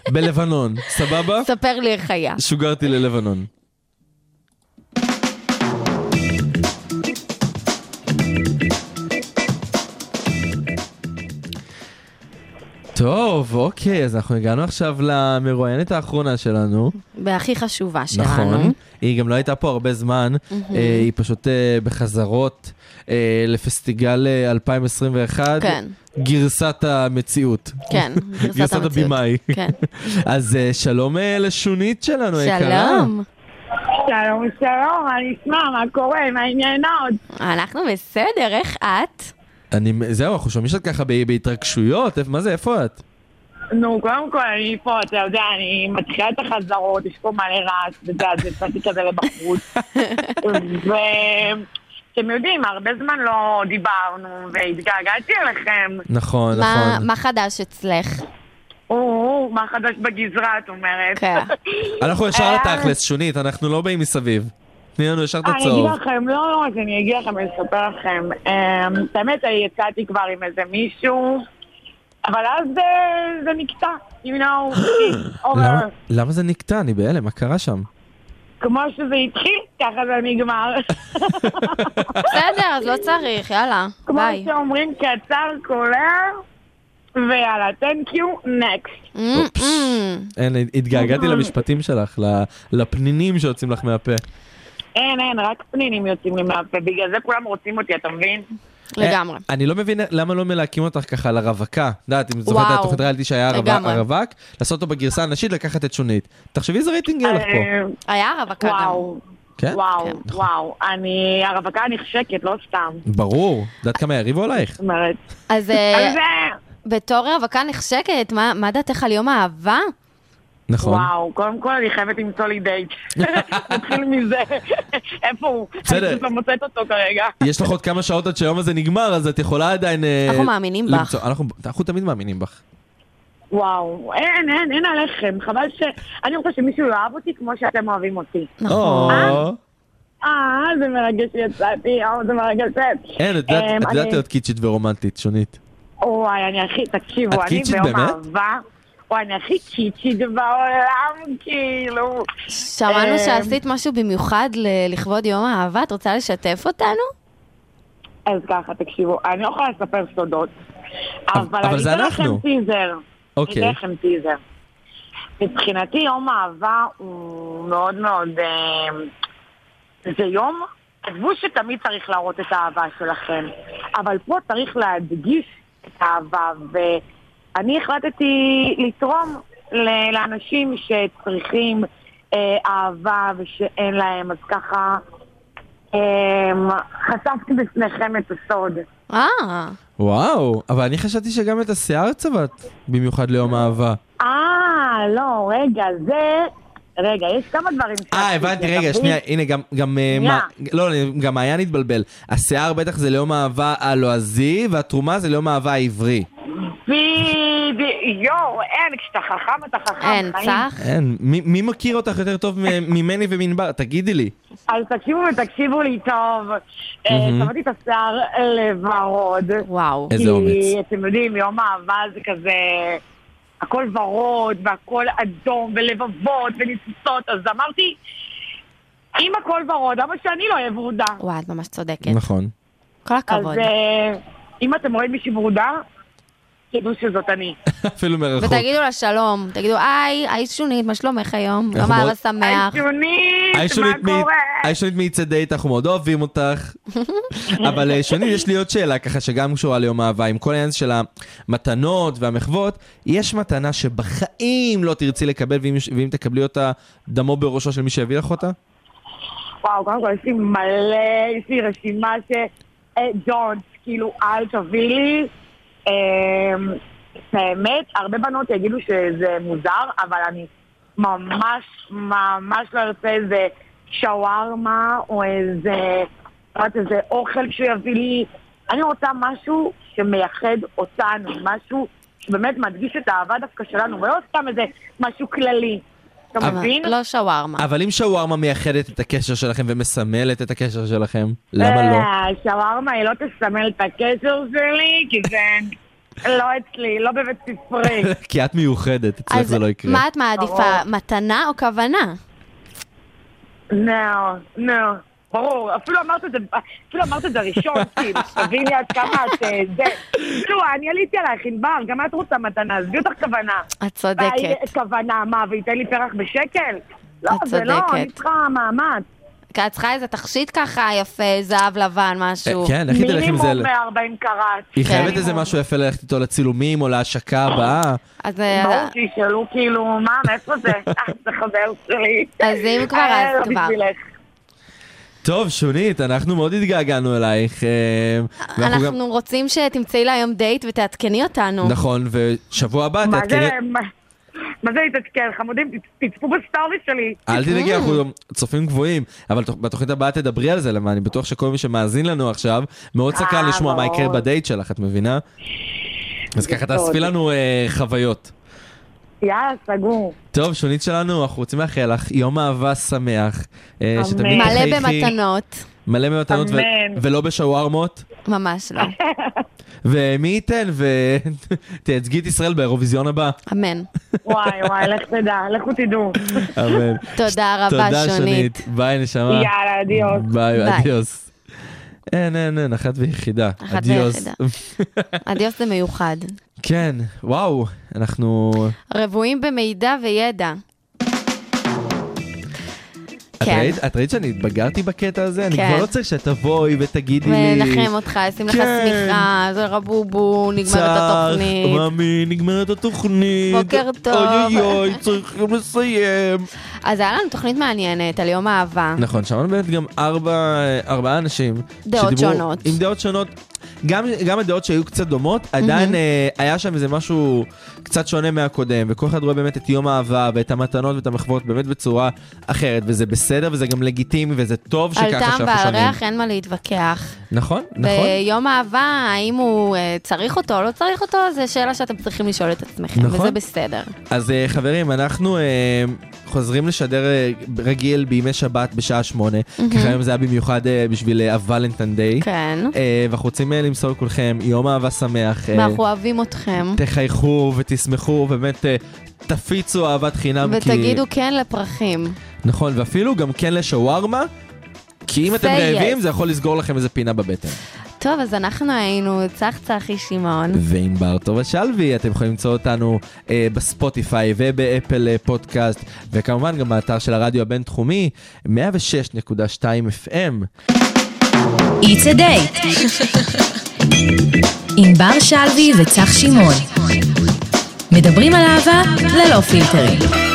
D: בלבנון, סבבה?
E: ספר לי איך היה.
D: שוגרתי ללבנון. טוב, אוקיי, אז אנחנו הגענו עכשיו למרואיינת האחרונה שלנו.
E: והכי חשובה שלנו.
D: נכון. היא גם לא הייתה פה הרבה זמן, אה, היא פשוט אה, בחזרות אה, לפסטיגל אה, 2021.
E: כן.
D: גרסת המציאות.
E: כן, גרסת
D: גרסת
E: המציאות.
D: הבמאי.
E: כן.
D: אז אה, שלום אה, לשונית שלנו, יקרה.
E: שלום,
G: שלום, שלום, מה נשמע? מה קורה? מה עניינות?
E: אנחנו בסדר, איך את?
D: אני, זהו, אנחנו שומעים שאת ככה ב- בהתרגשויות, איפה- מה זה, איפה את?
G: נו, קודם כל, אני פה, אתה יודע, אני מתחילה את החזרות, יש פה מלא רעש, וזה, אז יצאתי כזה לבחוץ. ואתם יודעים, הרבה זמן לא דיברנו, והתגעגעתי אליכם.
D: נכון,
E: מה-
D: נכון.
E: מה חדש אצלך?
G: או, מה חדש בגזרה, את אומרת.
E: כן.
D: אנחנו ישר
G: אה.
D: לתכלס, שונית, אנחנו לא באים מסביב. תני לנו ישר את
G: אני אגיד
D: הצהוב.
G: לכם, לא, לא, אז אני אגיד לכם, אני אספר לכם. אמ, את האמת, אני יצאתי כבר עם איזה מישהו, אבל אז אה, זה נקטע, you know, it's
D: למה-
G: over.
D: למה זה נקטע? אני בהלם, מה קרה שם?
G: כמו שזה התחיל, ככה זה נגמר.
E: בסדר, אז לא צריך, יאללה,
G: כמו
E: ביי.
G: שאומרים, קצר, קולע, ויאללה, thank you, next.
E: Mm, mm.
D: אופס. אין,
G: נכון.
D: התגעגעתי למשפטים שלך, ל- לפנינים שיוצאים לך מהפה.
G: אין, אין, רק פנינים יוצאים לי מהפה, בגלל זה כולם רוצים אותי, אתה מבין?
E: לגמרי.
D: אה, אני לא מבין למה לא מלהקים אותך ככה על הרווקה. את יודעת, אם זוכרת
E: וואו.
D: את התוכנית ריאליטי שהיה הרווק-
E: לגמרי.
D: הרווק, לעשות אותו בגרסה הנשית, לקחת את שונית. תחשבי איזה רייטינג
E: כן.
D: יהיה לך פה.
G: אה,
E: היה רווקה גם.
G: וואו,
D: נכון. כן?
G: וואו,
E: כן.
G: וואו, אני, הרווקה נחשקת, לא סתם.
D: ברור. את יודעת כמה יריבו עלייך?
G: זאת אומרת,
E: אז אה,
G: אז זה...
E: בתור רווקה נחשקת, מה- מה דעתך על יום האהבה?
D: נכון.
G: וואו, קודם כל אני חייבת למצוא לי דייט. נתחיל מזה. איפה הוא?
D: בסדר.
G: אני פשוט לא מוצאת אותו כרגע.
D: יש לך עוד כמה שעות עד שהיום הזה נגמר, אז את יכולה עדיין... אה,
E: אנחנו מאמינים בך.
D: למצוא- אנחנו- אנחנו תמיד מאמינים בך.
G: וואו, אין, אין, אין עליכם. חבל ש... אני רוצה שמישהו יאהב אותי כמו שאתם אוהבים אותי.
E: נכון.
D: או.
G: אה, זה מרגש שיצאתי, אה, זה מרגש ש...
D: אין, את
E: אה,
D: יודעת-
G: אמ,
D: את יודעת
G: אני-
D: להיות קיצ'ית ורומנטית, שונית.
G: אוי, אני הכי...
D: את
G: תקשיבו, אני
D: קיצ'ית
G: ביום
D: באמת?
G: אהבה. וואי, אני הכי קיצ'ית בעולם, כאילו.
E: שמענו
G: אה,
E: שעשית משהו במיוחד ל- לכבוד יום האהבה, את רוצה לשתף אותנו?
G: אז ככה, תקשיבו, אני לא יכולה לספר סודות, אבל
D: אבל
G: אני
D: זה
G: אתן
D: אנחנו.
G: לכם טיזר.
D: אוקיי.
G: אני אתן לכם טיזר. מבחינתי יום אהבה הוא מאוד מאוד... אה, זה יום עזבו שתמיד צריך להראות את האהבה שלכם, אבל פה צריך להדגיש את האהבה, ואני החלטתי לתרום ל- לאנשים שצריכים אה, אהבה ושאין להם, אז ככה אה, חשפתי בפניכם את הסוד.
E: אה,
D: וואו, אבל אני חשבתי שגם את השיער צבעת, במיוחד ליום אהבה.
G: אה, לא, רגע, זה... רגע, יש כמה דברים
D: אה,
G: שעשיתי,
D: הבנתי, רגע,
G: תבין?
D: שנייה, הנה, גם, גם, אה,
G: שנייה.
D: מה- לא, גם מעיין התבלבל. השיער בטח זה ליום אהבה הלועזי, והתרומה זה ליום אהבה העברי.
G: בדיוק, יואו, אין, כשאתה חכם אתה חכם.
E: אין,
G: חיים.
E: צח.
D: אין, מי, מי מכיר אותך יותר טוב מ- ממני ומנבר? תגידי לי.
G: אז תקשיבו ותקשיבו לי טוב. אה,
D: מהמם.
G: צבעתי את השיער לוורוד.
E: וואו.
D: איזה אומץ.
G: כי אתם יודעים, יום אהבה זה כזה... הכל ורוד, והכל אדום, ולבבות, וניצוצות, אז אמרתי, אם הכל ורוד, למה שאני לא אהיה ורודה?
E: וואי, את ממש צודקת.
D: נכון.
E: כל
G: אז
E: הכבוד.
G: אה, אם אתם רואים מישהי ורודה, תדעו שזאת אני.
D: אפילו
G: אה,
D: מרחוק.
E: ותגידו לה שלום, תגידו, היי, היי שונית, מה שלומך היום?
D: אנחנו
E: אמר
D: מאוד-
E: השמח.
D: היי,
G: הישונית,
D: שונית
G: מה
D: מי-
G: קורה?
D: היי, שונית מ-It's a Date, אנחנו מאוד אוהבים אותך. אבל אה, שונית, יש לי עוד שאלה ככה שגם קשורה ליום אהבה, עם כל העניין של המתנות והמחוות, יש מתנה שבחיים לא תרצי לקבל, ואם, ואם תקבלי אותה, דמו בראשו של מי שהביא לך אותה?
G: וואו, קודם כל יש לי מלא, יש לי רשימה ש... אה, don't, כאילו, אל תביא לי. אמ, את האמת, הרבה בנות יגידו שזה מוזר, אבל אני ממש ממש לא ארצה איזה שווארמה או איזה, לא יודעת, איזה אוכל שהוא יביא לי. אני רוצה משהו שמייחד אותנו, משהו שבאמת מדגיש את האהבה דווקא שלנו, ולא סתם איזה משהו כללי. אתה
E: אבל
G: מבין?
E: לא שווארמה.
D: אבל אם שווארמה מייחדת את הקשר שלכם ומסמלת את הקשר שלכם, למה לא?
G: אה, שווארמה היא לא תסמל את הקשר שלי, כי זה לא אצלי, לא בבית ספרי.
D: כי את מיוחדת, אצלך
E: אז
D: זה לא יקרה.
E: מה את מעדיפה, מתנה או כוונה?
G: לא, לא. ברור, אפילו אמרת את זה, אפילו אמרת את זה ראשון, כאילו, תביני עד כמה את אה, זה. כאילו, אני עליתי עלייך, ענבר, גם את רוצה מתנה, עזבי אותך כוונה.
E: את צודקת.
G: והיא- כוונה, מה, וייתן לי פרח בשקל? לא,
E: את
G: זה לא, אני
E: צודקת.
G: צריכה מאמץ. אה,
E: כי את צריכה איזה תחשיט ככה יפה, זהב לבן, משהו.
D: אה, כן, לכי תלך עם זה.
G: מינימום 140 קראט.
D: היא חייבת
E: כן.
D: איזה משהו יפה ללכת איתו לצילומים או להשקה הבאה.
E: אז אה,
G: ברור שישאלו כאילו, מה, מאיפה זה? אה, זה חבר שלי.
E: אז אם כבר,
G: אה,
E: אז
G: לא
E: כבר.
G: בשבילך.
D: טוב, שונית, אנחנו מאוד התגעגענו אלייך. אה, ואנחנו גם-
E: אנחנו רוצים שתמצאי לה היום דייט ותעדכני אותנו.
D: נכון, ושבוע הבא
G: מה
D: תעדכני...
G: זה, מה- מה זה להתעדכן? חמודים, ת- תצפו בסטורי שלי.
D: אל תדאגי, אנחנו צופים גבוהים, אבל תוך- בתוכנית הבאה תדברי על זה, למה אני בטוח שכל מי שמאזין לנו עכשיו, מאוד סקרן
G: אה,
D: לשמוע מה יקרה
G: ברור.
D: בדייט שלך, את מבינה? אז ככה
G: בסוד.
D: תאספי לנו אה, חוויות.
G: יאללה, סגור.
D: טוב, שונית שלנו, אנחנו רוצים לאחל לך יום אהבה שמח. אה, שתמיד
E: מלא
D: תחייכי.
E: במתנות,
D: מלא במתנות. ו-
G: אמן.
D: ולא בשווארמות.
E: ממש לא.
D: ומי ייתן ותייצגי את ישראל באירוויזיון הבא.
E: אמן.
G: וואי, וואי, לך תדע, לכו תדעו.
D: אמן.
E: תודה רבה,
D: תודה
E: שונית.
D: שונית. ביי נשמה.
G: יאללה, אדיוס.
D: ביי,
E: ביי.
D: אדיוס. אין, אין, אין, אחת ויחידה.
E: אחת
D: אדיוס.
E: אדיוס זה מיוחד.
D: כן, וואו, אנחנו...
E: רבועים במידע וידע.
D: את
E: כן.
D: ראית- את ראית שאני התבגרתי בקטע הזה? אני
E: כן.
D: כבר לא צריך שתבואי ותגידי לי...
E: ונחם אותך, ישים לך
D: כן.
E: שמיכה, זה רבובו, נגמרת התוכנית.
D: צח, ממי, נגמרת התוכנית.
E: בוקר טוב.
D: אוי אוי אוי, צריכים לסיים.
E: אז היה לנו תוכנית מעניינת על יום אהבה.
D: נכון, שמענו באמת גם ארבע, ארבעה אנשים.
E: דעות
D: שדיברו
E: שונות.
D: עם דעות שונות. גם, גם הדעות שהיו קצת דומות, עדיין אה, היה שם איזה משהו קצת שונה מהקודם, וכל אחד רואה באמת את יום האהבה ואת המתנות ואת המחוות באמת בצורה אחרת, וזה בסדר וזה גם לגיטימי וזה טוב שככה
E: על
D: שאנחנו
E: טעם
D: שונים.
E: ועל ריח אין מה להתווכח.
D: נכון, נכון.
E: ביום אהבה, האם הוא אה, צריך אותו או לא צריך אותו, זו שאלה שאתם צריכים לשאול את עצמכם,
D: נכון.
E: וזה בסדר.
D: אז אה, חברים, אנחנו אה, חוזרים לשדר אה, רגיל בימי שבת בשעה שמונה, ככה היום זה היה במיוחד אה, בשביל הוולנטיין דיי.
E: כן.
D: ואנחנו רוצים אה, למסור לכולכם יום אהבה שמח. אה,
E: ואנחנו אוהבים אתכם.
D: תחייכו ותשמחו, באמת אה, תפיצו אהבת חינם. כי-
E: ותגידו כן לפרחים.
D: נכון, ואפילו גם כן לשווארמה, כי אם אתם
E: Say
D: רעבים
E: yes.
D: זה יכול לסגור לכם איזה פינה בבטן.
E: טוב, אז אנחנו היינו צח צחי שמעון.
D: ועם בר טובה שלוי, אתם יכולים למצוא אותנו אה, בספוטיפיי ובאפל אה, פודקאסט, וכמובן גם באתר של הרדיו הבינתחומי, 106.2 FM.
C: It's a date. עם בר שלוי וצח שמעון. מדברים על אהבה ללא פילטרים.